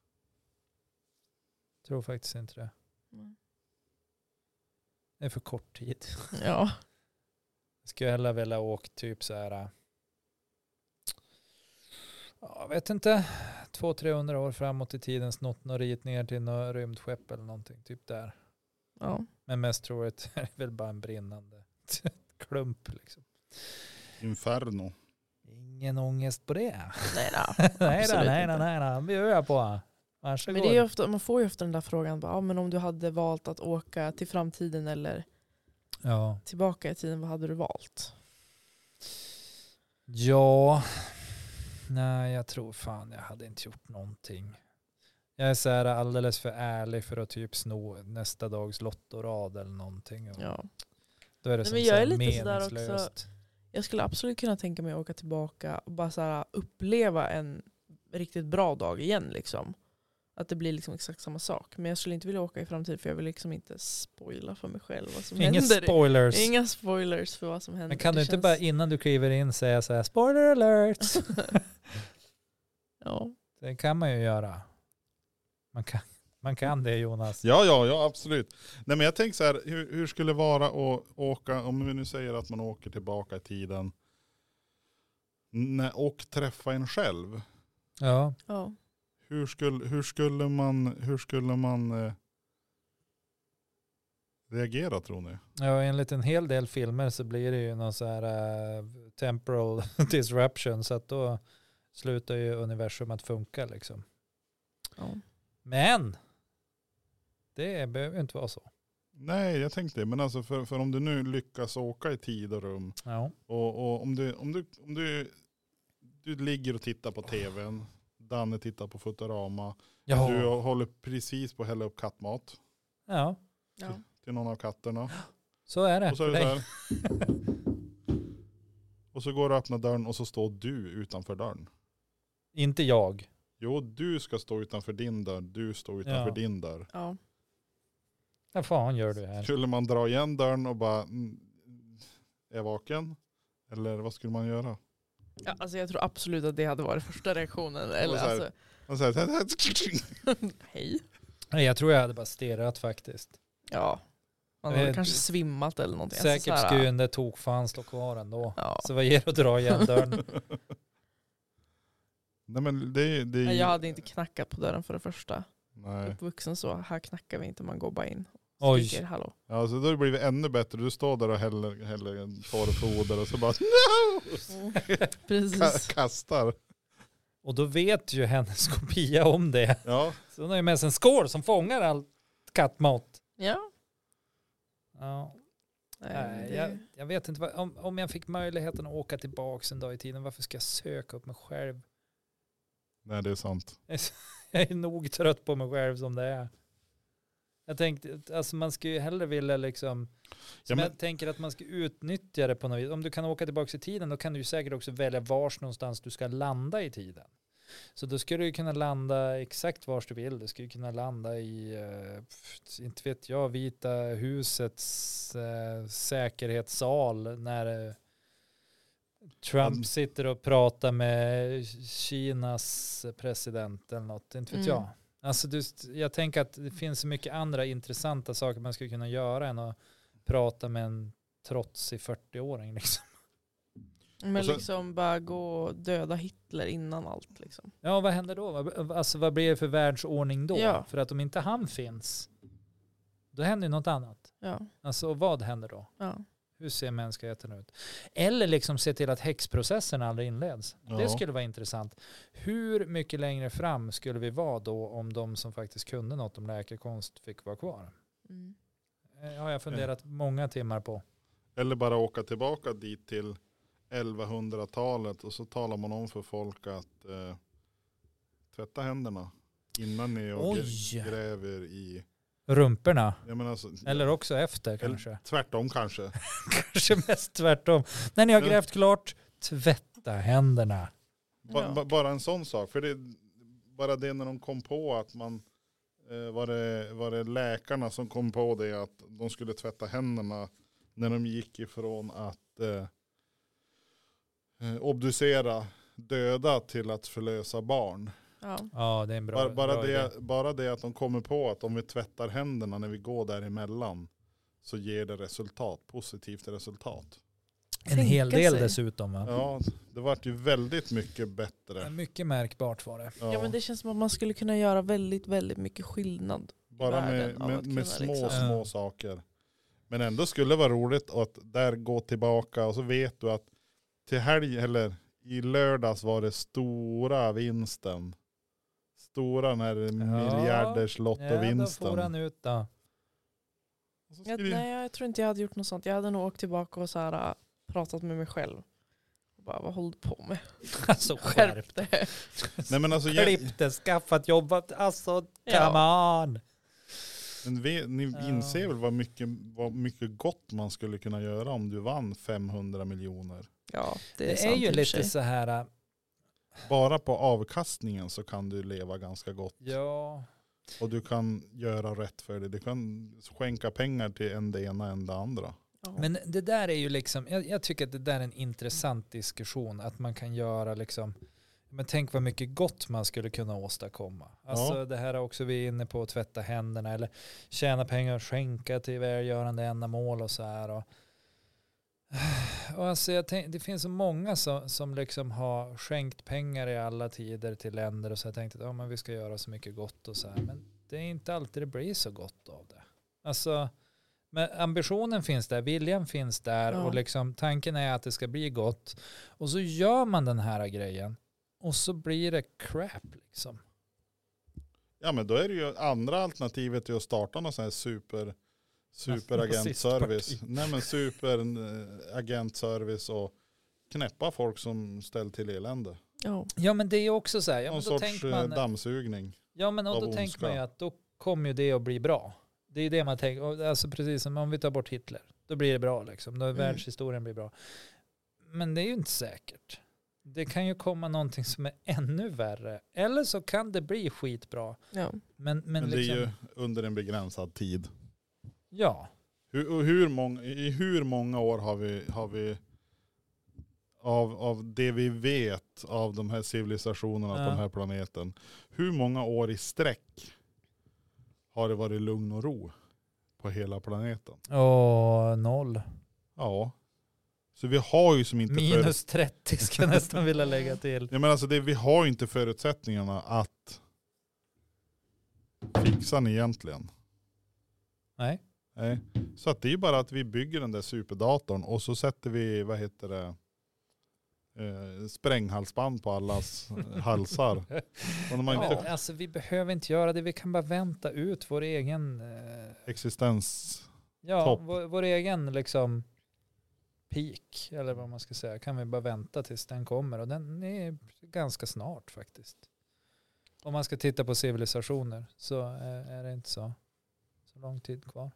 Jag tror faktiskt inte det. Mm. Det är för kort tid. Ja. Jag skulle hellre vilja åka typ så här. äh, ja, Jag vet inte. 200-300 år framåt i tiden. Snott några ritningar till något rymdskepp eller någonting. Typ där. ja. Men mest troligt är det väl bara en brinnande klump. Liksom. Inferno. Ingen ångest på det. Nej, då. nej då, Absolut nej då, inte. nej då. Det bjuder jag på. Varsågod. Men det är ju ofta, man får ju ofta den där frågan. Bara, ja, men om du hade valt att åka till framtiden eller ja. tillbaka i tiden, vad hade du valt? Ja, nej jag tror fan jag hade inte gjort någonting. Jag är så här alldeles för ärlig för att typ sno nästa dags lottorad eller någonting. Och Ja. Då är det Nej, som men jag så är lite sådär också- meningslöst. Jag skulle absolut kunna tänka mig att åka tillbaka och bara så här, uppleva en riktigt bra dag igen. Liksom. Att det blir liksom exakt samma sak. Men jag skulle inte vilja åka i framtiden för jag vill liksom inte spoila för mig själv vad som Inga händer. spoilers. Inga spoilers för vad som händer. men kan du Det inte känns- bara innan du kliver in säga så här spoiler alert? ja. det kan man ju göra. Man kan, man kan det Jonas. Ja, ja, ja, absolut. Nej, men jag tänker så här, hur, hur skulle det vara att åka, om vi nu säger att man åker tillbaka i tiden nä- och träffa en själv. Ja. Ja. Hur skulle, hur skulle man, hur skulle man eh, reagera tror ni? Ja, enligt en hel del filmer så blir det ju någon så här eh, temporal disruption så att då slutar ju universum att funka liksom. Ja. Men det behöver ju inte vara så. Nej, jag tänkte det. Men alltså för, för om du nu lyckas åka i tid och rum Ja. och, och om, du, om, du, om du, du ligger och tittar på tvn, Danne tittar på Futurama, du Ja. håller precis på att hälla upp kattmat ja, Ja. till någon av katterna. så är det. Och så är för det så dig. här. Och så går du och öppnar dörren och så står du utanför dörren. Inte jag. Jo, du ska stå utanför din dörr, du står utanför Ja. din dörr. Ja. Vad fan gör du här? Skulle man dra igen dörren och bara, "Mm, är jag vaken? Eller vad skulle man göra? alltså jag tror absolut att det hade varit första reaktionen. Eller, så här- alltså, Man säger, hej. Nej, jag tror jag hade bara stirrat faktiskt. Ja. Man Jag hade vet- kanske svimmat eller någonting. Alltså, Eh, Säkert så här, skulle den där tokfan stå kvar ändå. Ja. Så vad ger det att dra igen dörren? Nej men det, det är Nej, Jag hade inte knackat på dörren för det första. Nej. Uppvuxen så, här knackar vi inte, man går bara in. Oj. Skriker, hallå. Ja, så då har det blivit ännu bättre. Du står där och häller, häller en torrfoder och så bara no! Precis. Ka- kastar. Och då vet ju hennes kopia om det. Ja. Så hon har ju med sig en skål som fångar all kattmat. Ja. Ja. Nej, Nej, det- jag, jag vet inte, vad, om, om jag fick möjligheten att åka tillbaka en dag i tiden, varför ska jag söka upp mig själv? Nej det är sant. Jag är nog trött på mig själv som det är. Jag tänkte, alltså man skulle ju hellre vilja liksom, Ja, som men- jag tänker att man ska utnyttja det på något vis. Om du kan åka tillbaka i tiden, då kan du ju säkert också välja vars någonstans du ska landa i tiden. Så då skulle du ju kunna landa exakt vars du vill. Du skulle ju kunna landa i, eh, pff, inte vet jag, Vita husets eh, säkerhetssal när eh, Trump Mm. sitter och pratar med Kinas president eller något, inte vet Mm. jag. Alltså du, jag tänker att det finns så mycket andra intressanta saker man skulle kunna göra än att prata med en trotsig 40-åring. Liksom. Men Och så- liksom bara gå och döda Hitler innan allt. Liksom. Ja, vad händer då? Vad- Alltså, vad blir det för världsordning då? Ja. För att om inte han finns, Då händer ju något annat. Ja. Alltså och vad händer då? ja. Hur ser mänskligheten ut? Eller liksom se till att häxprocessen aldrig inleds. Ja. Det skulle vara intressant. Hur mycket längre fram skulle vi vara då om de som faktiskt kunde något om läkekonst fick vara kvar? Mm. Eh, har jag funderat många timmar på. Eller bara åka tillbaka dit till 1100-talet och så talar man om för folk att eh, tvätta händerna innan ni och Oj. gr- gräver i. Rumporna. Jag menar alltså, Eller också efter Eller- kanske. tvärtom kanske. Kanske mest tvärtom. När ni har Ja. grävt klart, tvätta händerna. Ba, Ja. ba, bara en sån sak. För det, bara det när de kom på att man eh, var, det, var det läkarna som kom på det att de skulle tvätta händerna när de gick ifrån att eh, eh, obducera döda till att förlösa barn. Ja. Ja, det är en bra bara, bara, bra idé. det, bara det att de kommer på att om vi tvättar händerna när vi går däremellan så ger det resultat, positivt resultat. En hel Tänka del sig. dessutom. Va? Ja, det vart ju väldigt mycket bättre. Mycket märkbart var det. ja men det känns som att man skulle kunna göra väldigt, väldigt mycket skillnad. Bara med, världen av att med, kunna med små, liksom- små Ja. saker. Men ändå skulle det vara roligt att där gå tillbaka och så vet du att till helg eller i lördags var det stora vinsten. Stora den här miljarders Ja, då får lottovinsten. han ut då. Och så Jag, skulle- nej jag tror inte jag hade gjort något sånt. Jag hade nog åkt tillbaka och så här, äh, pratat med mig själv. Och bara vad håller du på med? Alltså skärp Skärp dig. dig. Nej men alltså, jag, Klipp det, skaffat jobbat. Alltså come on. men vi, ni Ja. inser väl vad mycket, vad mycket gott man skulle kunna göra om du vann 500 miljoner. Ja det är, Det är sant i ju och för sig. lite så här. äh, Bara på avkastningen så kan du leva ganska gott. Ja. Och du kan göra rätt för det. Du kan skänka pengar till en det ena en det andra. Ja. Men det där är ju liksom, jag, jag tycker att det där är en intressant diskussion, att man kan göra liksom, men tänk vad mycket gott man skulle kunna åstadkomma. Alltså Ja. det här är också vi är inne på, att tvätta händerna eller tjäna pengar och skänka till välgörande ändamål och så här. Och, och alltså jag tänk, det finns så många som, som liksom har skänkt pengar i alla tider till länder och så har jag tänkt att ja, men vi ska göra så mycket gott och så här. Men det är inte alltid det blir så gott av det. Alltså, men ambitionen finns där, viljan finns där Ja. och liksom, tanken är att det ska bli gott. Och så gör man den här grejen och så blir det crap liksom. Ja men då är det ju andra alternativet är att starta någon sån här super superagentservice. Nazistparti. Nej men superagentservice och knäppa folk som ställt till elände. Ja. Ja men det är också så här, ja, Någon men då sorts eh, tänker man... man, dammsugning. ja, men, och av då tänker man ju ondska. att då kommer ju det att bli bra. Det är ju det man tänker, och alltså precis som om vi tar bort Hitler, då blir det bra liksom, då Mm. världshistorien blir bra. Men det är ju inte säkert. Det kan ju komma någonting som är ännu värre, eller så kan det bli skitbra. Ja. Men, men, Men, liksom, det är ju under en begränsad tid. ja. Hur, och hur många, I hur många år har vi, har vi av, av det vi vet av de här civilisationerna på Ja. den här planeten. Hur många år i sträck har det varit lugn och ro på hela planeten? Åh, noll. Ja. Så vi har ju som inte förut- Minus 30 ska jag nästan vilja lägga till. Jag menar alltså det, vi har ju inte förutsättningarna att fixa den egentligen. Nej. Nej. Så att det är ju bara att vi bygger den där superdatorn och så sätter vi, vad heter det, eh, spränghalsband på allas halsar. Och när man Ja. inte Alltså vi behöver inte göra det, vi kan bara vänta ut vår egen, eh, existens, ja, Topp. vår, vår egen liksom peak, eller vad man ska säga, kan vi bara vänta tills den kommer och den är ganska snart faktiskt. Om man ska titta på civilisationer så eh, är det inte så, så lång tid kvar.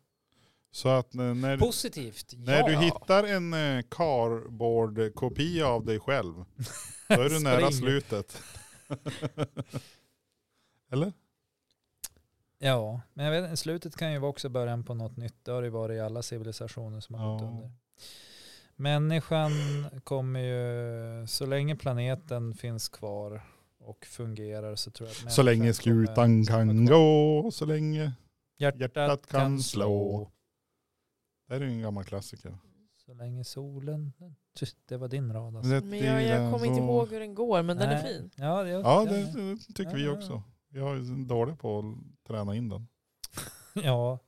så att eh, när, Positivt, ja. när du hittar en eh, cardboard-kopia av dig själv, då är du nära Spring. slutet. Eller? Ja, men jag vet, inte, slutet kan ju vara också början på något nytt. Det har det ju varit i alla civilisationer som har gått Ja. under. Människan kommer ju, så länge planeten finns kvar och fungerar så tror jag att Så människan länge kommer- skutan kan gå, så länge. hjärtat, hjärtat kan, kan slå. slå. Det här är ju en gammal klassiker. Så länge solen, Tyst, det var din rad alltså. Men Men jag, jag kommer inte ihåg hur den går men den är Nej. fin. Ja, det, Ja, det, det tycker Ja, vi ja. också. Vi har ju dåligt på att träna in den. ja,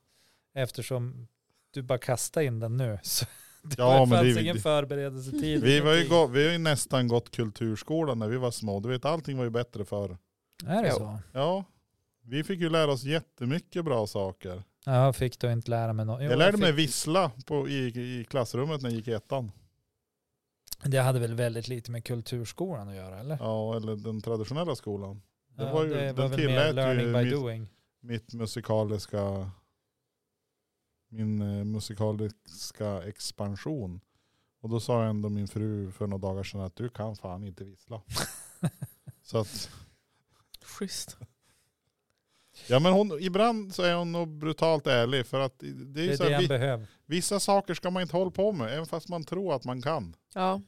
Eftersom du bara kastade in den nu. Så det Ja, var- men det är fanns ju- ingen förberedelsetid. Vi, var ju ingenting. gå, vi har ju nästan gått kulturskolan när vi var små. Du vet allting var ju bättre förr. Är det Jo. så? Ja, vi fick ju lära oss jättemycket bra saker. Ja, jag fick då inte lära mig något. Jo, jag lärde mig fick- vissla på, i, i klassrummet när jag gick i ettan. Det hade väl väldigt lite med kulturskolan att göra eller? Ja, eller den traditionella skolan. det Ja, var ju- det den var väl mer tillät ju learning by mitt- doing. Mitt musikaliska, min eh, musikaliska expansion. Och då sa jag ändå min fru för några dagar sedan att du kan fan inte vissla. Så att, Schysst. ja men hon, ibland så är hon nog brutalt ärlig för att det är, Det ju är så det här, han vi, behöver. vissa saker ska man inte hålla på med även fast man tror att man kan. Ja.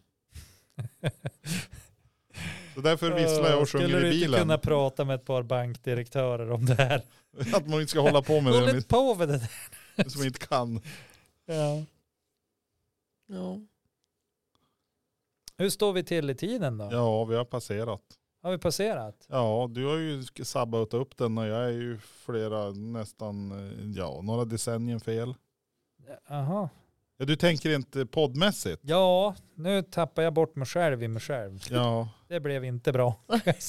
Så därför visslar jag och Skulle sjunger du i inte bilen. kunna prata med ett par bankdirektörer om det här? Att man inte ska hålla på med Håll det inte på med det där. man- som man inte kan. Ja. ja. Hur står vi till i tiden då? Ja, vi har passerat. Har vi passerat? Ja, du har ju sk- sabbat upp den och jag är ju flera, nästan, eh, ja, några decennier fel. Jaha. Ja, du tänker inte poddmässigt? Ja, nu tappar jag bort mig själv i mig själv. Ja, Det blev inte bra.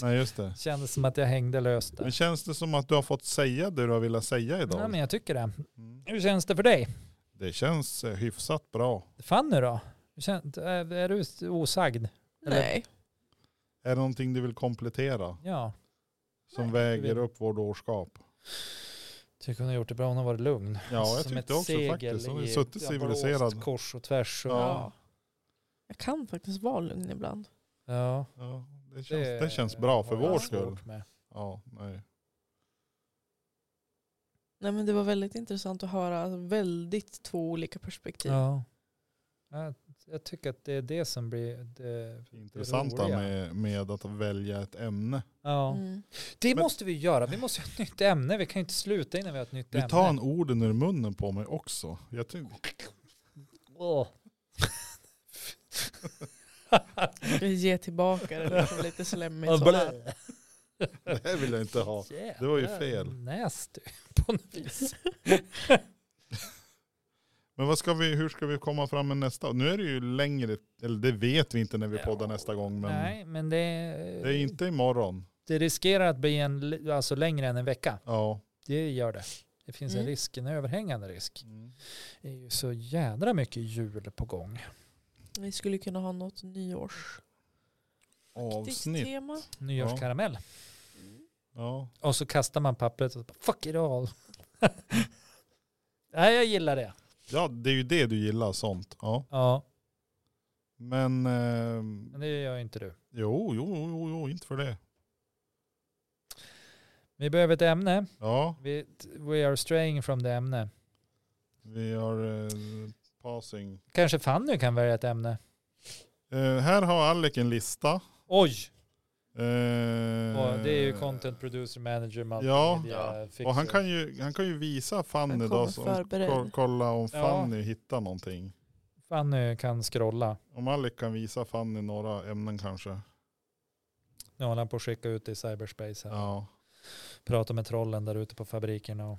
nej just det. Kändes som att jag hängde löst Men där. känns det som att du har fått säga det du har velat säga Nej, idag? men jag tycker det. Mm. Hur känns det för dig? Det känns eh, hyfsat bra. Fanny då? Hur kän- är- Är du osagd? Eller- Nej. Är det någonting du vill komplettera Ja. som Nej, väger vill- upp vår årskap? Tycker hon har gjort det bra, hon har varit lugn. Ja, jag Som tyckte ett också segel faktiskt. Hon har i- ju suttit jag har blåst civiliserad. kors och tvärs. Och, Ja. Ja. Jag kan faktiskt vara lugn ibland. ja. Ja, det, känns, det känns bra för har jag vår skull. svårt med. Ja, nej. Nej men det var väldigt intressant att höra alltså, väldigt två olika perspektiv. Ja. Jag, jag tycker att det är det som blir det, Det intressanta roliga. med, med att välja ett ämne. Ja. Mm. Det Men- måste vi göra. Vi måste ha ett nytt ämne. Vi kan ju inte sluta innan vi har ett nytt Du ämne. tar en orden ur munnen på mig också. Jag ty- Åh. Jag Ge tillbaka det liksom lite slemmigt. sådär. Blä. det här vill jag inte ha. det var ju Jävlar, fel. Nasty på något vis. Men vad ska vi, hur ska vi komma fram med nästa? Nu är det ju längre, eller det vet vi inte när vi Ja. poddar nästa gång. Men Nej, men det, det är inte imorgon. det riskerar att bli en, li- alltså längre än en vecka. Ja. Det gör det. Det finns en Mm. risk, en överhängande risk. Mm. Det är ju så jädra mycket jul på gång. Vi skulle kunna ha något nyårs Avsnitt. tema. Nyårskaramell. Ja. Och så kastar man pappret och så bara, fuck it all. Nej, jag gillar det. ja, det är ju det du gillar, sånt. Ja. Ja, Men ehm, men det gör inte du. jo, jo, jo, jo, inte för det. Vi behöver ett ämne. Ja, Vi, we are straying from the ämne. vi har eh, passing. Kanske Fanny kan välja ett ämne. Eh, här har Alec en lista. Oj, Eh, och det är ju content producer manager Ja. multimedia. fixer. Och han kan ju, han kan ju visa Han Fanny kommer då, som, förberedd. ko- kolla om Ja. Fanny hittar någonting. Fanny kan scrolla. Om Alec kan visa Fanny några ämnen kanske. Nu håller han på att skicka ut det i cyberspace. Här. Ja. Prata med trollen där ute på fabrikerna. Och...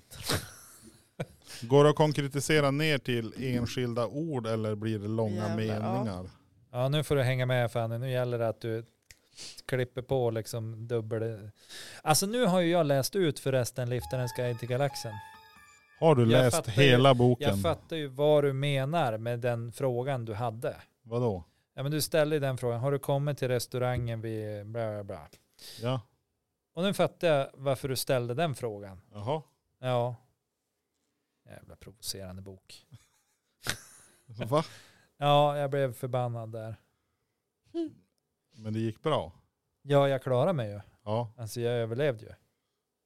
Går det att konkretisera ner till enskilda ord eller blir det långa Jävlar, ja. meningar? Ja, nu får du hänga med Fanny. Nu gäller det att du klipper på liksom dubbel... Alltså nu har ju jag läst ut förresten Liftarens guide till galaxen. Har du Jag läst fattar ju- hela Jag boken? fattar ju vad du menar med den frågan du hade. Vadå? Ja, men du ställde ju den frågan. Har du kommit till restaurangen vid bla bla bla? Ja. Och nu fattar jag varför du ställde den frågan. Jaha. Ja. Jävla provocerande bok. Va? Ja, jag blev förbannad där. Men det gick bra. Ja, jag klarade mig ju. Ja. Alltså jag överlevde ju.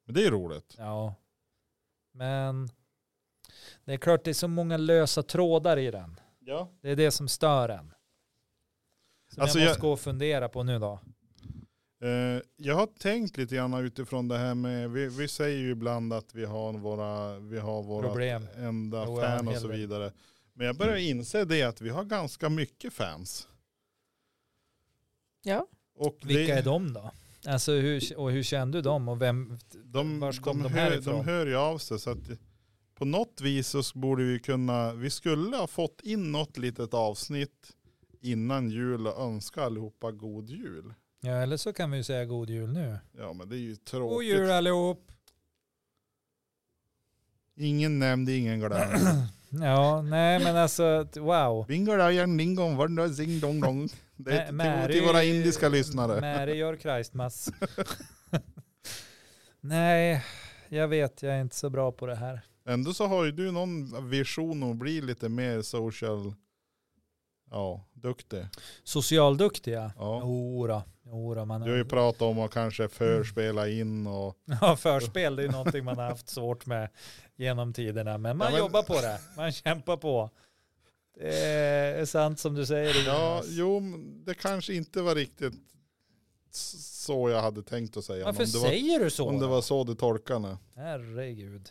Men det är roligt. Ja. Men det är klart det är så många lösa trådar i den. Ja. Det är det som stör en. Som Alltså, jag jag- måste gå och fundera på nu då. Eh, jag har tänkt lite grann utifrån det här med, vi, vi säger ju ibland att vi har våra, vi har våra Problem. Mm. enda Jo, en fan och hel så del. vidare. Men jag börjar inse det att vi har ganska mycket fans. Ja. Och det- Vilka är de då? Alltså hur, och hur kände du dem och vem? De, Vars kom de, de här hör, ifrån? de hör ju av sig. Så att på något vis så borde vi kunna, vi skulle ha fått in något litet avsnitt innan jul och önska allihopa god jul. Ja, eller så kan vi ju säga god jul nu. Ja men det är ju God tråkigt. jul allihop! Ingen nämnd, ingen glömd. Ja, nej men alltså, t- wow. Bingolajan, dingong, varndra, zing, dong, dong. Det är Mä- till, till våra indiska lyssnare. Mary gör Christmas. nej, jag vet, jag är inte så bra på det här. Ändå så har ju du någon vision att bli lite mer social, ja, duktig. Socialduktiga? Ja. Jodå, jodå. Man Du har ju pratat om att kanske förspela in och Ja, förspel det är någonting man har haft svårt med genom tiderna. Men man Ja, men- jobbar på det, man kämpar på. Det är sant som du säger. ja, Jonas. jo, men det kanske inte var riktigt s- så jag hade tänkt att säga. men Varför om det var, säger du så? Om det då? var så du tolkade det. Herregud.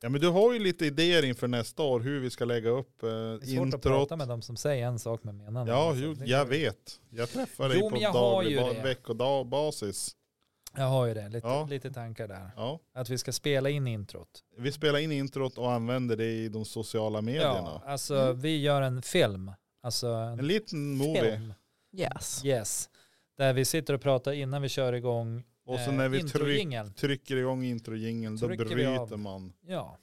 Ja men du har ju lite idéer inför nästa år hur vi ska lägga upp eh, Det är svårt att introt. prata med dem som säger en sak men menar en Ja, annan jo, sak. Det- jag vet. Jag träffar dig Jo, på men jag har daglig ju ba- det. veckodagsbasis. Jag har ju det, lite, Ja. lite tankar där. Ja. Att vi ska spela in introt. Vi spelar in introt och använder det i de sociala medierna. Ja, alltså Mm. vi gör en film. Alltså en, En liten movie. film. Yes. Yes. Där vi sitter och pratar innan vi kör igång Och så eh, när vi tryck, introjingeln. trycker igång introjingeln då Trycker vi bryter av. man Ja.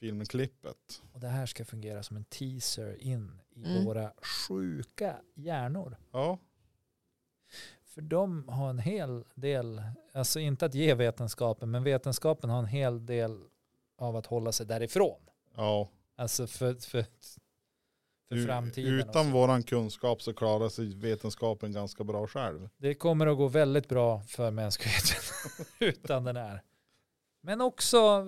filmklippet. Och det här ska fungera som en teaser in i Mm. våra sjuka hjärnor. Ja, För de har en hel del, alltså inte att ge vetenskapen, men vetenskapen har en hel del av att hålla sig därifrån. ja. Alltså för, för, för U- framtiden. Utan också. våran kunskap så klarar sig vetenskapen ganska bra själv. Det kommer att gå väldigt bra för mänskligheten utan den här. Men också,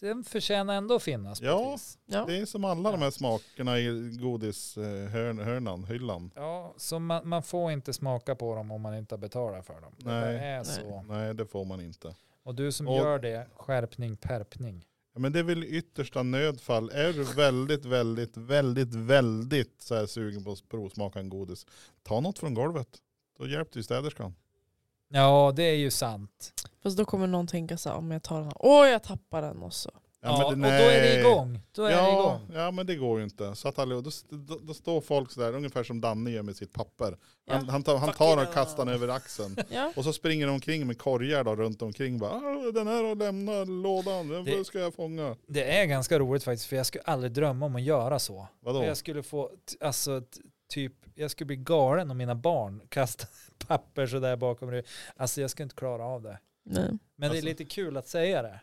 den förtjänar ändå att finnas. på Ja. ett vis. Ja. Det är som alla de Ja. här smakerna i godishörnan, hyllan. ja så man, man får inte smaka på dem om man inte har betalat för dem. Nej. Det är Nej. så. Nej, det får man inte. Och du som Och- gör det, skärpning, perpning. Ja, Men det är väl i yttersta nödfall. Är du väldigt, väldigt, väldigt, väldigt så här sugen på att provsmaka en godis, ta något från golvet. Då hjälpte ju städerskan. Ja, det är ju sant. Fast då kommer någon tänka så här, om jag tar den här, åh jag tappar den också. Ja, och då är det igång. Då är det Ja, igång. ja, men det går ju inte. Så att allihop, då, st- då, då står folk sådär, ungefär som Danne gör med sitt papper. Han, Ja. han tar, han Fuck tar you. den och kastar den över axeln. Ja. Och så springer de omkring med korgar då, runt omkring. Bara, "Ah, den här har lämnat lådan, den Det- ska jag fånga. Det är ganska roligt faktiskt, för jag skulle aldrig drömma om att göra så. Vadå? Jag skulle få, t- alltså t- typ, jag skulle bli galen om mina barn kastade papper sådär bakom ryggen. Alltså jag skulle inte klara av det. Nej. Men Alltså- det är lite kul att säga det.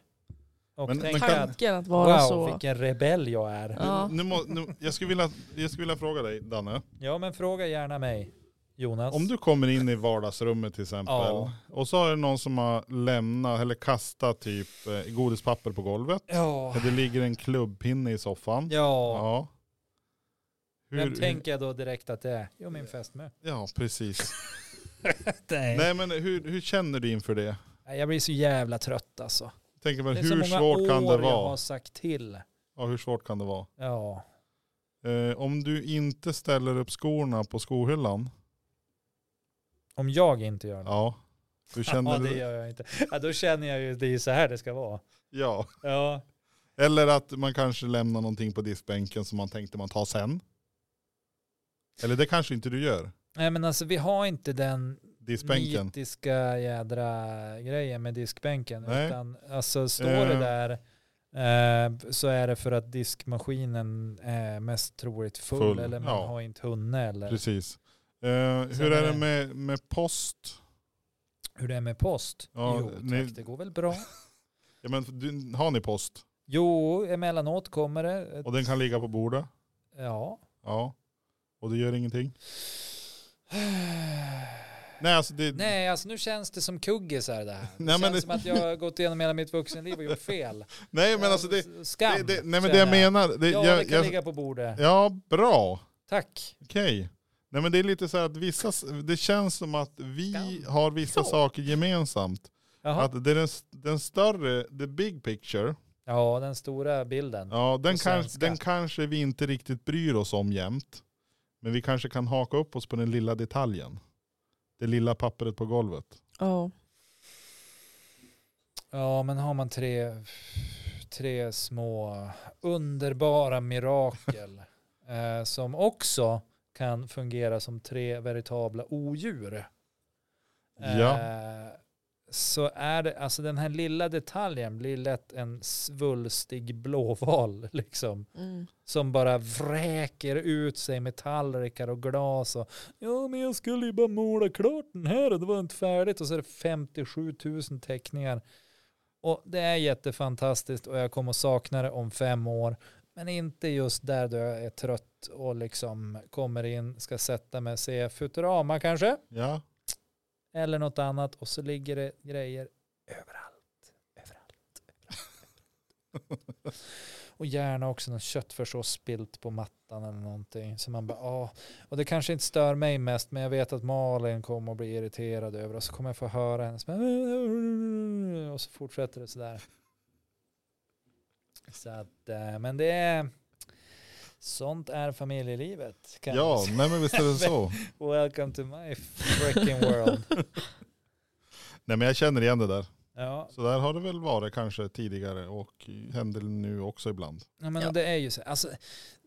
Och Men- men tänka kan- att Tanken att vara wow, så. vilken rebell jag är. Ja. Nu, nu, må- nu, jag, skulle vilja, jag skulle vilja fråga dig, Danne. Ja, men fråga gärna mig, Jonas. Om du kommer in i vardagsrummet till exempel Ja. och så är det någon som har lämnat eller kastat typ eh, godispapper på golvet. Ja. Det ligger en klubbpinne i soffan. Ja. Ja. Vem tänker jag då direkt att det är? Jo, min fästmö. Ja, precis. Nej men hur, hur känner du inför det? Nej, Jag blir så jävla trött alltså. Tänker man Det är så hur många svårt kan det år jag har vara? sagt till. Ja, hur svårt kan det vara? Ja, Eh, om du inte ställer upp skorna på skohyllan, om jag inte gör det. ja. Hur känner ja, det du? gör jag inte. Ja, då känner jag ju, det är ju så här det ska vara. Ja. Ja, Eller att man kanske lämnar någonting på diskbänken som man tänkte man tar sen. Eller det kanske inte du gör. nej men alltså vi har inte den Diskbänken. nitiska jädra grejen med diskbänken. Nej. Utan alltså står Eh. det där eh, så är det för att diskmaskinen är mest troligt full, Full, eller man ja. har inte hunnit eller Precis. Eh, hur är är det det- med, med post? hur det är med post. Ja, jo tack, ni- det går väl bra. Ja, men, du, har ni post? Jo, emellanåt kommer det. ett- Och den kan ligga på bordet? Ja. Ja. Och det gör ingenting? Nej, alltså det, Nej, alltså nu känns det som kuggisar det här. Det Nej, men känns det- som att jag har gått igenom hela mitt vuxenliv och gjort fel. nej men alltså det, Skam. det, det, nej men känner det jag menar. Det, Ja, det jag, kan jag, ligga på bordet. ja, bra. Tack. Okej. Nej men det är lite så här att vissa, s- det känns som att vi Skam. har vissa Ja. saker gemensamt. Jaha. Att det är den, s- den större, the big picture, Ja, den stora bilden. ja, den, På kanske, svenska. den kanske vi inte riktigt bryr oss om jämt. Men vi kanske kan haka upp oss på den lilla detaljen. Det lilla pappret på golvet. Ja. Ja, men har man tre, tre små underbara mirakel eh, som också kan fungera som tre veritabla odjur. Ja. Eh, så är det, alltså den här lilla detaljen blir lätt en svulstig blåval liksom. Mm. Som bara vräker ut sig med tallrikar och glas och ja men jag skulle ju bara måla klart den här och det var inte färdigt och så är det 57 000 teckningar. Och det är jättefantastiskt och jag kommer att sakna det om fem år. Men inte just där då jag är trött och liksom kommer in, ska sätta mig, se Futurama kanske Ja. eller något annat och så ligger det grejer överallt. Överallt. överallt. och gärna också någon köttfärssås spilt på mattan eller någonting. Så man bara, ah. Och det kanske inte stör mig mest, men jag vet att Malin kommer att bli irriterad över och så kommer jag få höra hennes och så fortsätter det sådär. Så att, eh, men det är sånt är familjelivet. kan jag ja, nej men visst är det så. Welcome to my freaking world. Nej men jag känner igen det där. Ja, Så där har det väl varit kanske tidigare och händer nu också ibland. ja men Ja. det är ju så. Alltså,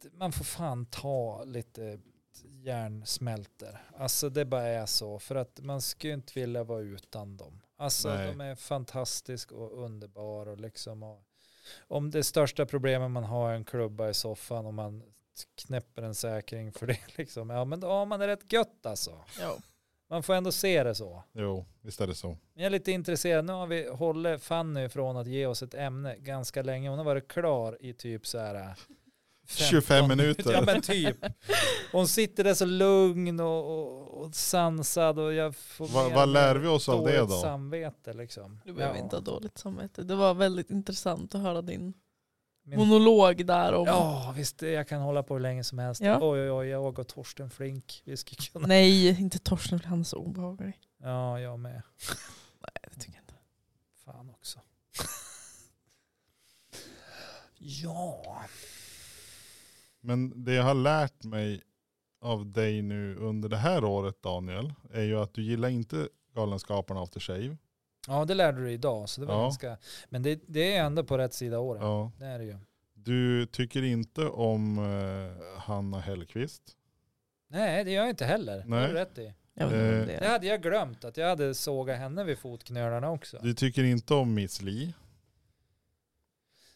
det- man får fan ta lite hjärnsmälter. Alltså det bara är så. För att man skulle inte vilja vara utan dem. Alltså Nej. de är fantastiska och underbara och liksom. Och, om det största problemet man har är en klubba i soffan och man knäpper en säkring för det liksom. Ja men då har man det rätt gött alltså. Ja. Man får ändå se det så. Jo, visst är det så. Men Jag är lite intresserad, nu har vi hållit Fanny från att ge oss ett ämne ganska länge. Hon har varit klar i typ så här äh, 25 minuter. Ja men typ. Hon sitter där så lugn och, och, och sansad och jag får Va, mer vad och lär mer vi oss av det dåligt då? samvete liksom. Du behöver Ja. inte ha dåligt samvete. Det var väldigt intressant att höra din Min- monolog där om... Ja visst, det- jag kan hålla på hur länge som helst. Ja. Oj oj oj, jag och Torsten Flink. Vi skulle kunna... Nej, inte Torsten, han är så obehaglig. Ja, jag med. Nej, det tycker jag inte. Fan också. ja. Men det jag har lärt mig av dig nu under det här året Daniel, är ju att du gillar inte Galenskaparna After Shave. Ja, det lärde du dig idag. Så det var Ja. ganska, men det, det är ändå på rätt sida åren. Ja. Det är det ju. Du tycker inte om eh, Hanna Hellqvist. Nej, det gör jag inte heller. Det har Nej. du rätt i. Jag vet inte om Eh, det Det är. hade jag glömt, att jag hade sågat henne vid fotknölarna också. Du tycker inte om Miss Li.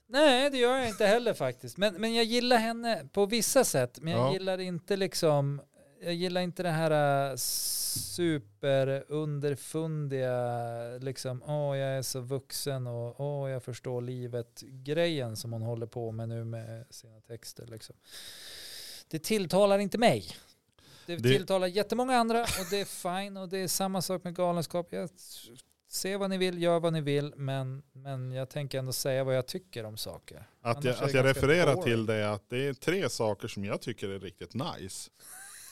Nej, det gör jag inte heller faktiskt. Men, men jag gillar henne på vissa sätt. Men jag Ja. gillar inte liksom, jag gillar inte det här äh, superunderfundiga, liksom, åh jag är så vuxen och åh jag förstår livet-grejen som hon håller på med nu med sina texter liksom. Det tilltalar inte mig. Det, Det- tilltalar jättemånga andra och det är fine och det är samma sak med galenskap. Jag Se vad ni vill, gör vad ni vill, men, men jag tänker ändå säga vad jag tycker om saker. Att jag, Annars är det att jag ganska refererar boring. till det är att det är tre saker som jag tycker är riktigt nice.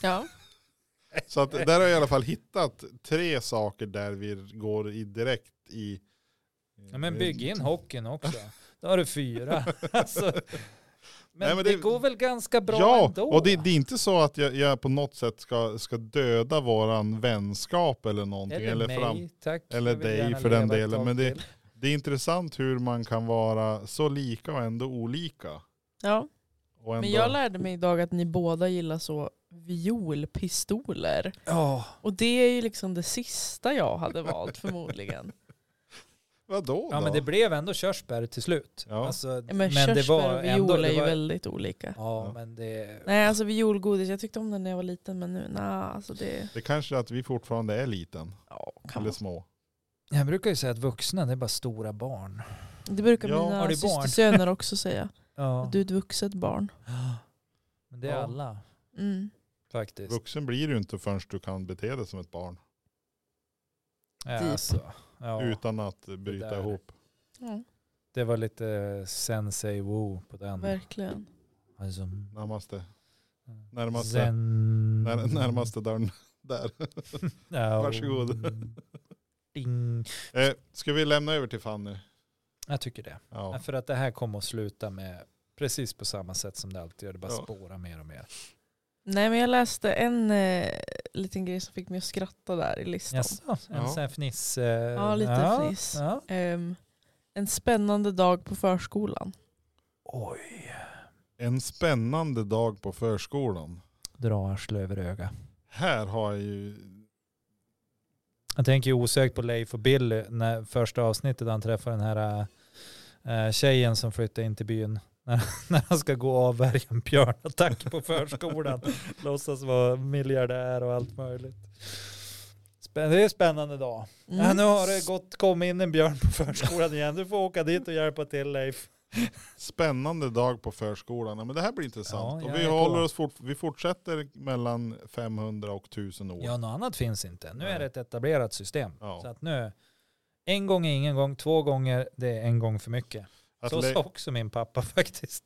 Ja. Så att där har jag i alla fall hittat tre saker där vi går i direkt i... Ja, men bygg in hockeyn också. Då har du fyra. Alltså, men, Nej, men det, det- går väl ganska bra ja, ändå? och det, det är inte så att jag, jag på något sätt ska, ska döda våran vänskap eller någonting. eller, Eller mig, fram. tack. eller Jag vill dig gärna för den leva ett delen, tag men det- till. Det är intressant hur man kan vara så lika och ändå olika. ja. Och ändå, Men jag lärde mig idag att ni båda gillar så violpistoler. Ja, Och det är ju liksom det sista jag hade valt förmodligen. Vadå ja, då? men det blev ändå körsbär till slut. Ja. Alltså, Ja, men, körsbär och viol är det ju var- väldigt olika. Ja, Ja. men det... Nej alltså violgodis, jag tyckte om den när jag var liten men nu, nej alltså det, det kanske är att vi fortfarande är liten. ja kan eller man. små. Jag brukar ju säga att vuxna, det är bara stora barn. Det brukar Ja, har mina du barn? systersöner också säga. Ja. Att du är ett vuxet barn. Men det är Ja. alla Mm. faktiskt. Vuxen blir du inte förrän du kan bete dig som ett barn. Ja, Typ. alltså. ja. Utan att bryta där. ihop. Ja, Det var lite sensei woo på den. verkligen. Alltså, Närmaste. Närmaste. Zen... När, närmaste dörren. Där. Ja. Varsågod. Ding. Eh, ska vi lämna över till Fanny? Jag tycker det. Ja. För att det här kommer att sluta med precis på samma sätt som det alltid gör. Det bara Ja. spårar mer och mer. Nej men jag läste en eh, liten grej som fick mig att skratta där i listan. Jaså, en Ja. sån här fniss. eh, Ja, lite ja, fniss. Ja. Ehm, En spännande dag på förskolan. Oj. En spännande dag på förskolan. Dra arslet över öga. Här har jag ju, Jag tänker ju osökt på Leif och Billy när första avsnittet han träffar den här äh, tjejen som flyttar in till byn. När, när han ska gå och avvärja en björnattack på förskolan. Låtsas vara miljardär och allt möjligt. Spä- Det är en spännande dag. Mm. Ja, nu har det gått, kommit in en björn på förskolan igen. Du får åka dit och hjälpa till Leif. spännande dag på förskolan. Ja, men det här blir intressant. Ja, och jag vi, är på. håller oss fort, vi fortsätter mellan 500 och 1000 år. Ja, något annat finns inte. Nu är det ett etablerat system. Ja. Så att nu, en gång är ingen gång, två gånger det är en gång för mycket. Att Så le- sa också min pappa faktiskt.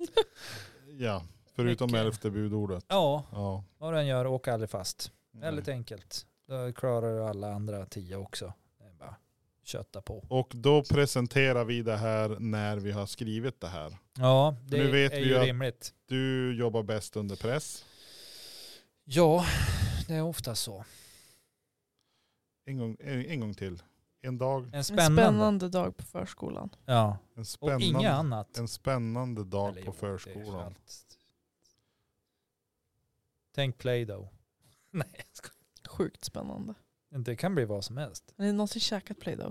ja förutom Mycket. elfte budordet. Ja, Ja. vad den gör, åk aldrig fast. Väldigt Nej. enkelt. Då klarar du alla andra tio också. Det är bara kötta på. Och då presenterar vi det här när vi har skrivit det här. Ja, det Nu vet är vi ju att- rimligt. Du jobbar bäst under press. Ja, det är ofta så. En gång, eh, en, en gång till. En dag. En En spännande. spännande dag på förskolan. Ja, En och inget spännande, annat. en spännande Eller dag jo, på det är ju förskolan. allt. Tänk play då. Nej, jag skojar. Sjukt spännande. det kan bli vad som helst. Har ni någonsin käkat Play-Doh?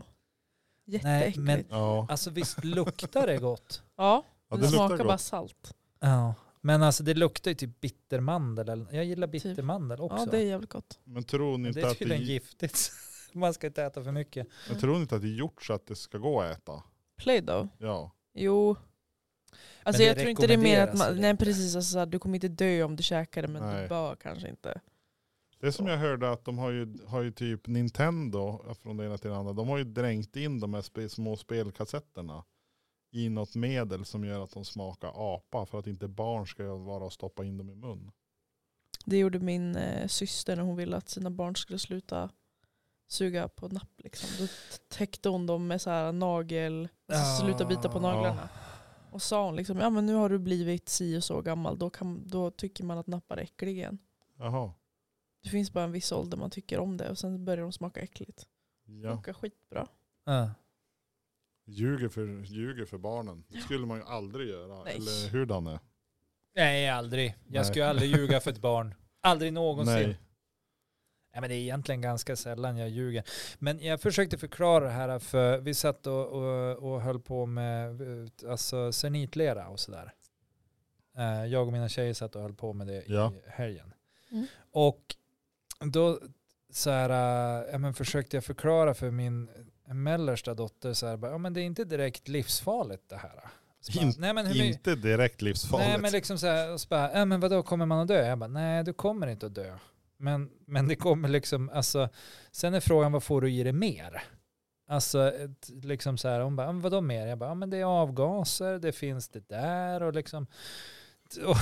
Nej, Jätteäckligt. men- Ja. Alltså visst luktar det gott? Ja, ja, det det luktar smakar bara gott. salt. Ja. Men alltså det luktar ju typ bittermandel. eller- Jag gillar bittermandel också. Typ. Ja, det är jävligt gott. Men tror ni Men det inte är att det, tydligen giftigt. Man ska inte äta för mycket. men tror ni inte att det är gjort så att det ska gå att äta? Play-Doh? Ja. Jo. Alltså det jag tror inte det är mer att rekommenderas man, väl nej inte? precis, alltså, så här, du kommer inte dö om du käkar det men Nej. du bör kanske inte. Det är som jag hörde att de har ju, har ju typ Nintendo från det ena till det andra. De har ju dränkt in de här spe, små spelkassetterna i något medel som gör att de smakar apa för att inte barn ska vara och stoppa in dem i mun. Det gjorde min eh, syster när hon ville att sina barn skulle sluta suga på napp liksom. Då t- täckte hon dem med så här nagel, alltså, sluta bita på naglarna. Och sa hon liksom, ja men nu har du blivit si och så gammal, då, kan, då tycker man att nappar är äcklig igen. Jaha. Det finns bara en viss ålder man tycker om det och sen börjar de smaka äckligt. Ja. Smakar skitbra. Ja. Ljuger för, ljuger för barnen. Det skulle man ju aldrig göra. Nej. Eller hur Danne? Nej, aldrig. Jag Nej. skulle aldrig ljuga för ett barn. Aldrig någonsin. Nej. Ja, men det är egentligen ganska sällan jag ljuger. Men jag försökte förklara det här för vi satt och, och, och höll på med eh, alltså, sernitlera och sådär. Eh, Jag och mina tjejer satt och höll på med det Ja. i helgen. Mm. Och då så här, eh, ja, men försökte jag förklara för min mellersta dotter så här, bara, ja, men det är inte direkt livsfarligt det här. Så bara, Inte- nej, men hur my- Inte direkt livsfarligt. Nej men liksom så här, och så bara, äh, men vadå kommer man att dö? Jag bara, nej du kommer inte att dö. Men, men det kommer liksom, alltså, sen är frågan vad får du i dig mer? Alltså, ett, liksom så här, hon bara, "Ja, men vadå mer? Jag bara, "Ja, men det är avgaser, det finns det där och liksom. Och,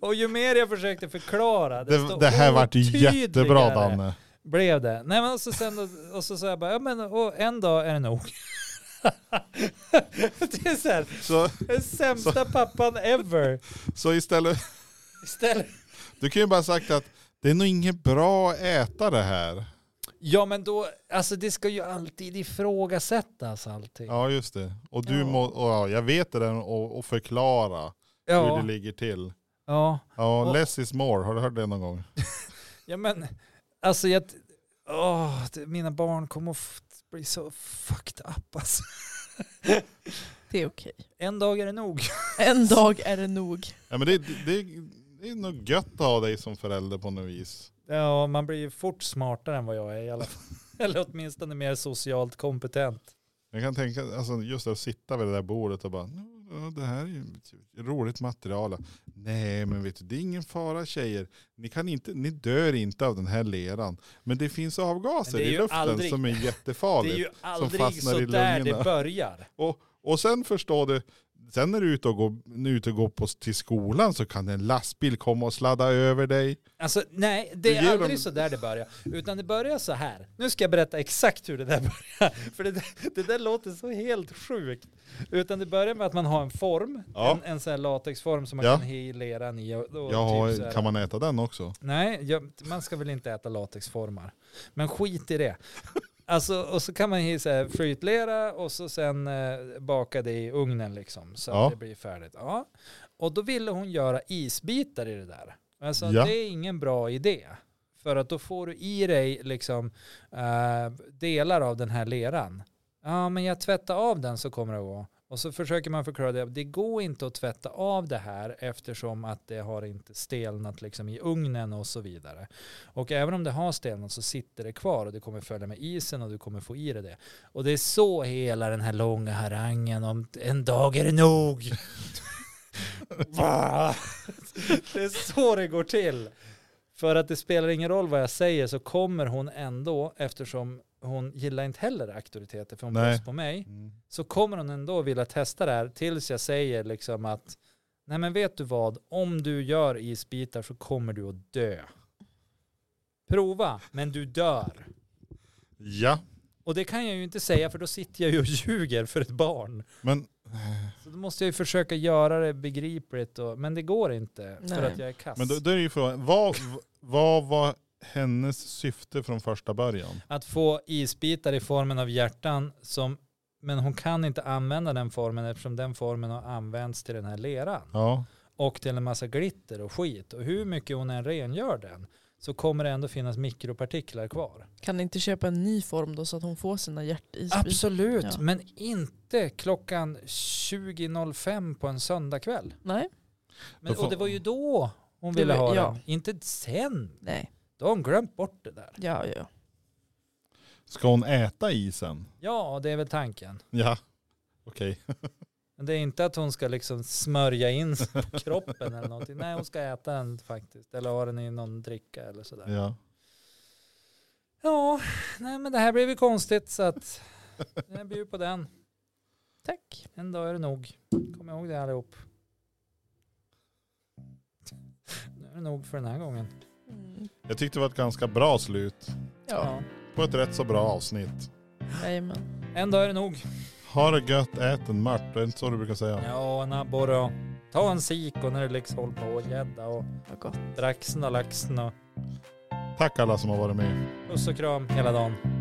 och ju mer jag försökte förklara, det, det här vart ju jättebra Danne Danne. blev det. Nej men och så sen då, och så sa jag bara, ja men och en dag är det nog. det är så här, Så, den sämsta pappan ever. så istället, Istället. du kan ju bara ha sagt att det är nog inget bra att äta det här. Ja men då, alltså det ska ju alltid ifrågasättas allting. Ja just det. Och du Ja. må, och ja, jag vet det där och, och förklara hur ja. det ligger till. ja. Ja, Och- less is more. Har du hört det någon gång? Ja, men alltså jag... Åh, det, mina barn kommer att f- bli så fucked up alltså. Det är okej. En dag är det nog. En dag är det nog. Ja, men det, det, det är nog gött att ha dig som förälder på något vis. Ja, man blir ju fort smartare än vad jag är i alla fall. Eller åtminstone mer socialt kompetent. Jag kan tänka, alltså just att sitta vid det där bordet och bara, "Nå, ja, det här är ju roligt material. Nej men vet du, det är ingen fara tjejer. Ni, kan inte, ni dör inte av den här leran. Men det finns avgaser Men det är i ju luften aldrig- som är Det är jättefarligt. ju aldrig fastnar så i där det lungorna. börjar. Och sen förstår du, sen när du är ute och går, när du är ute och går på, till skolan så kan en lastbil komma och sladda över dig. Alltså nej, det Du är ger aldrig dem- så där det börjar. Utan det börjar så här. Nu ska jag berätta exakt hur det där börjar. För det, där- det där låter så helt sjukt. Utan det börjar med att man har en form, Ja. en, en sån här latexform som man Ja. kan hilera i. Och, och Jag typ så här. har, kan man äta den också? Nej, jag, man ska väl inte äta latexformar. Men skit i det. Alltså, och så kan man ju så här flytlera och så sen eh, baka det i ugnen liksom. Så Ja. att det blir färdigt. Ja. Och då ville hon göra isbitar i det där. Alltså Ja. det är ingen bra idé. För att då får du i dig liksom eh, delar av den här leran. Ja men jag tvättar av den så kommer det att gå. Och så försöker man förklara det. Det går inte att tvätta av det här eftersom att det har inte stelnat liksom i ugnen och så vidare. Och även om det har stelnat så sitter det kvar och det kommer följa med isen och du kommer få i dig det. Och det är så hela den här långa harangen om en dag är det nog. Va? det är så det går till. För att det spelar ingen roll vad jag säger så kommer hon ändå, eftersom hon gillar inte heller auktoriteter, för hon Nej. blåser på mig, så kommer hon ändå vilja testa det här tills jag säger liksom att nej men vet du vad, om du gör isbitar så kommer du att dö. Prova, men du dör. Ja, Och det kan jag ju inte säga för då sitter jag ju och ljuger för ett barn. men Så då måste jag ju försöka göra det begripligt, och, men det går inte för Nej. att jag är kass. Men då, då är det ju frågan, vad, vad var hennes syfte från första början? Att få isbitar i formen av hjärtan, som, men hon kan inte använda den formen eftersom den formen har använts till den här leran. Ja, och till en massa glitter och skit. Och hur mycket hon än rengör den så kommer det ändå finnas mikropartiklar kvar. Kan ni inte köpa en ny form då så att hon får sina hjärtisbitar? Absolut, Ja. men inte klockan 20.05 på en söndagkväll. Nej. Men, Då får- och det var ju då hon Det ville var- ha ja. den, inte sen. Nej. Då har hon glömt bort det där. Ja, ja. ska hon äta isen? Ja, det är väl tanken. Ja, okej. Men det är inte att hon ska liksom smörja in sig på kroppen eller någonting. Nej, hon ska äta den faktiskt. Eller ha den i någon dricka eller sådär. Ja. Ja, nej men det här blev ju konstigt så att jag bjuder på den. Tack. En dag är det nog. Kom ihåg det allihop. Nu är det nog för den här gången. Mm. Jag tyckte det var ett ganska bra slut Ja, på ett rätt så bra avsnitt. jajamän. En dag är det nog. Ha det gött, ät en mört. Det är inte så du brukar säga. Ja, en abborre och ta en sik och när det liksom håller på och gädda och Vad gott. braxen och laxen och Tack alla som har varit med. puss och kram hela dagen.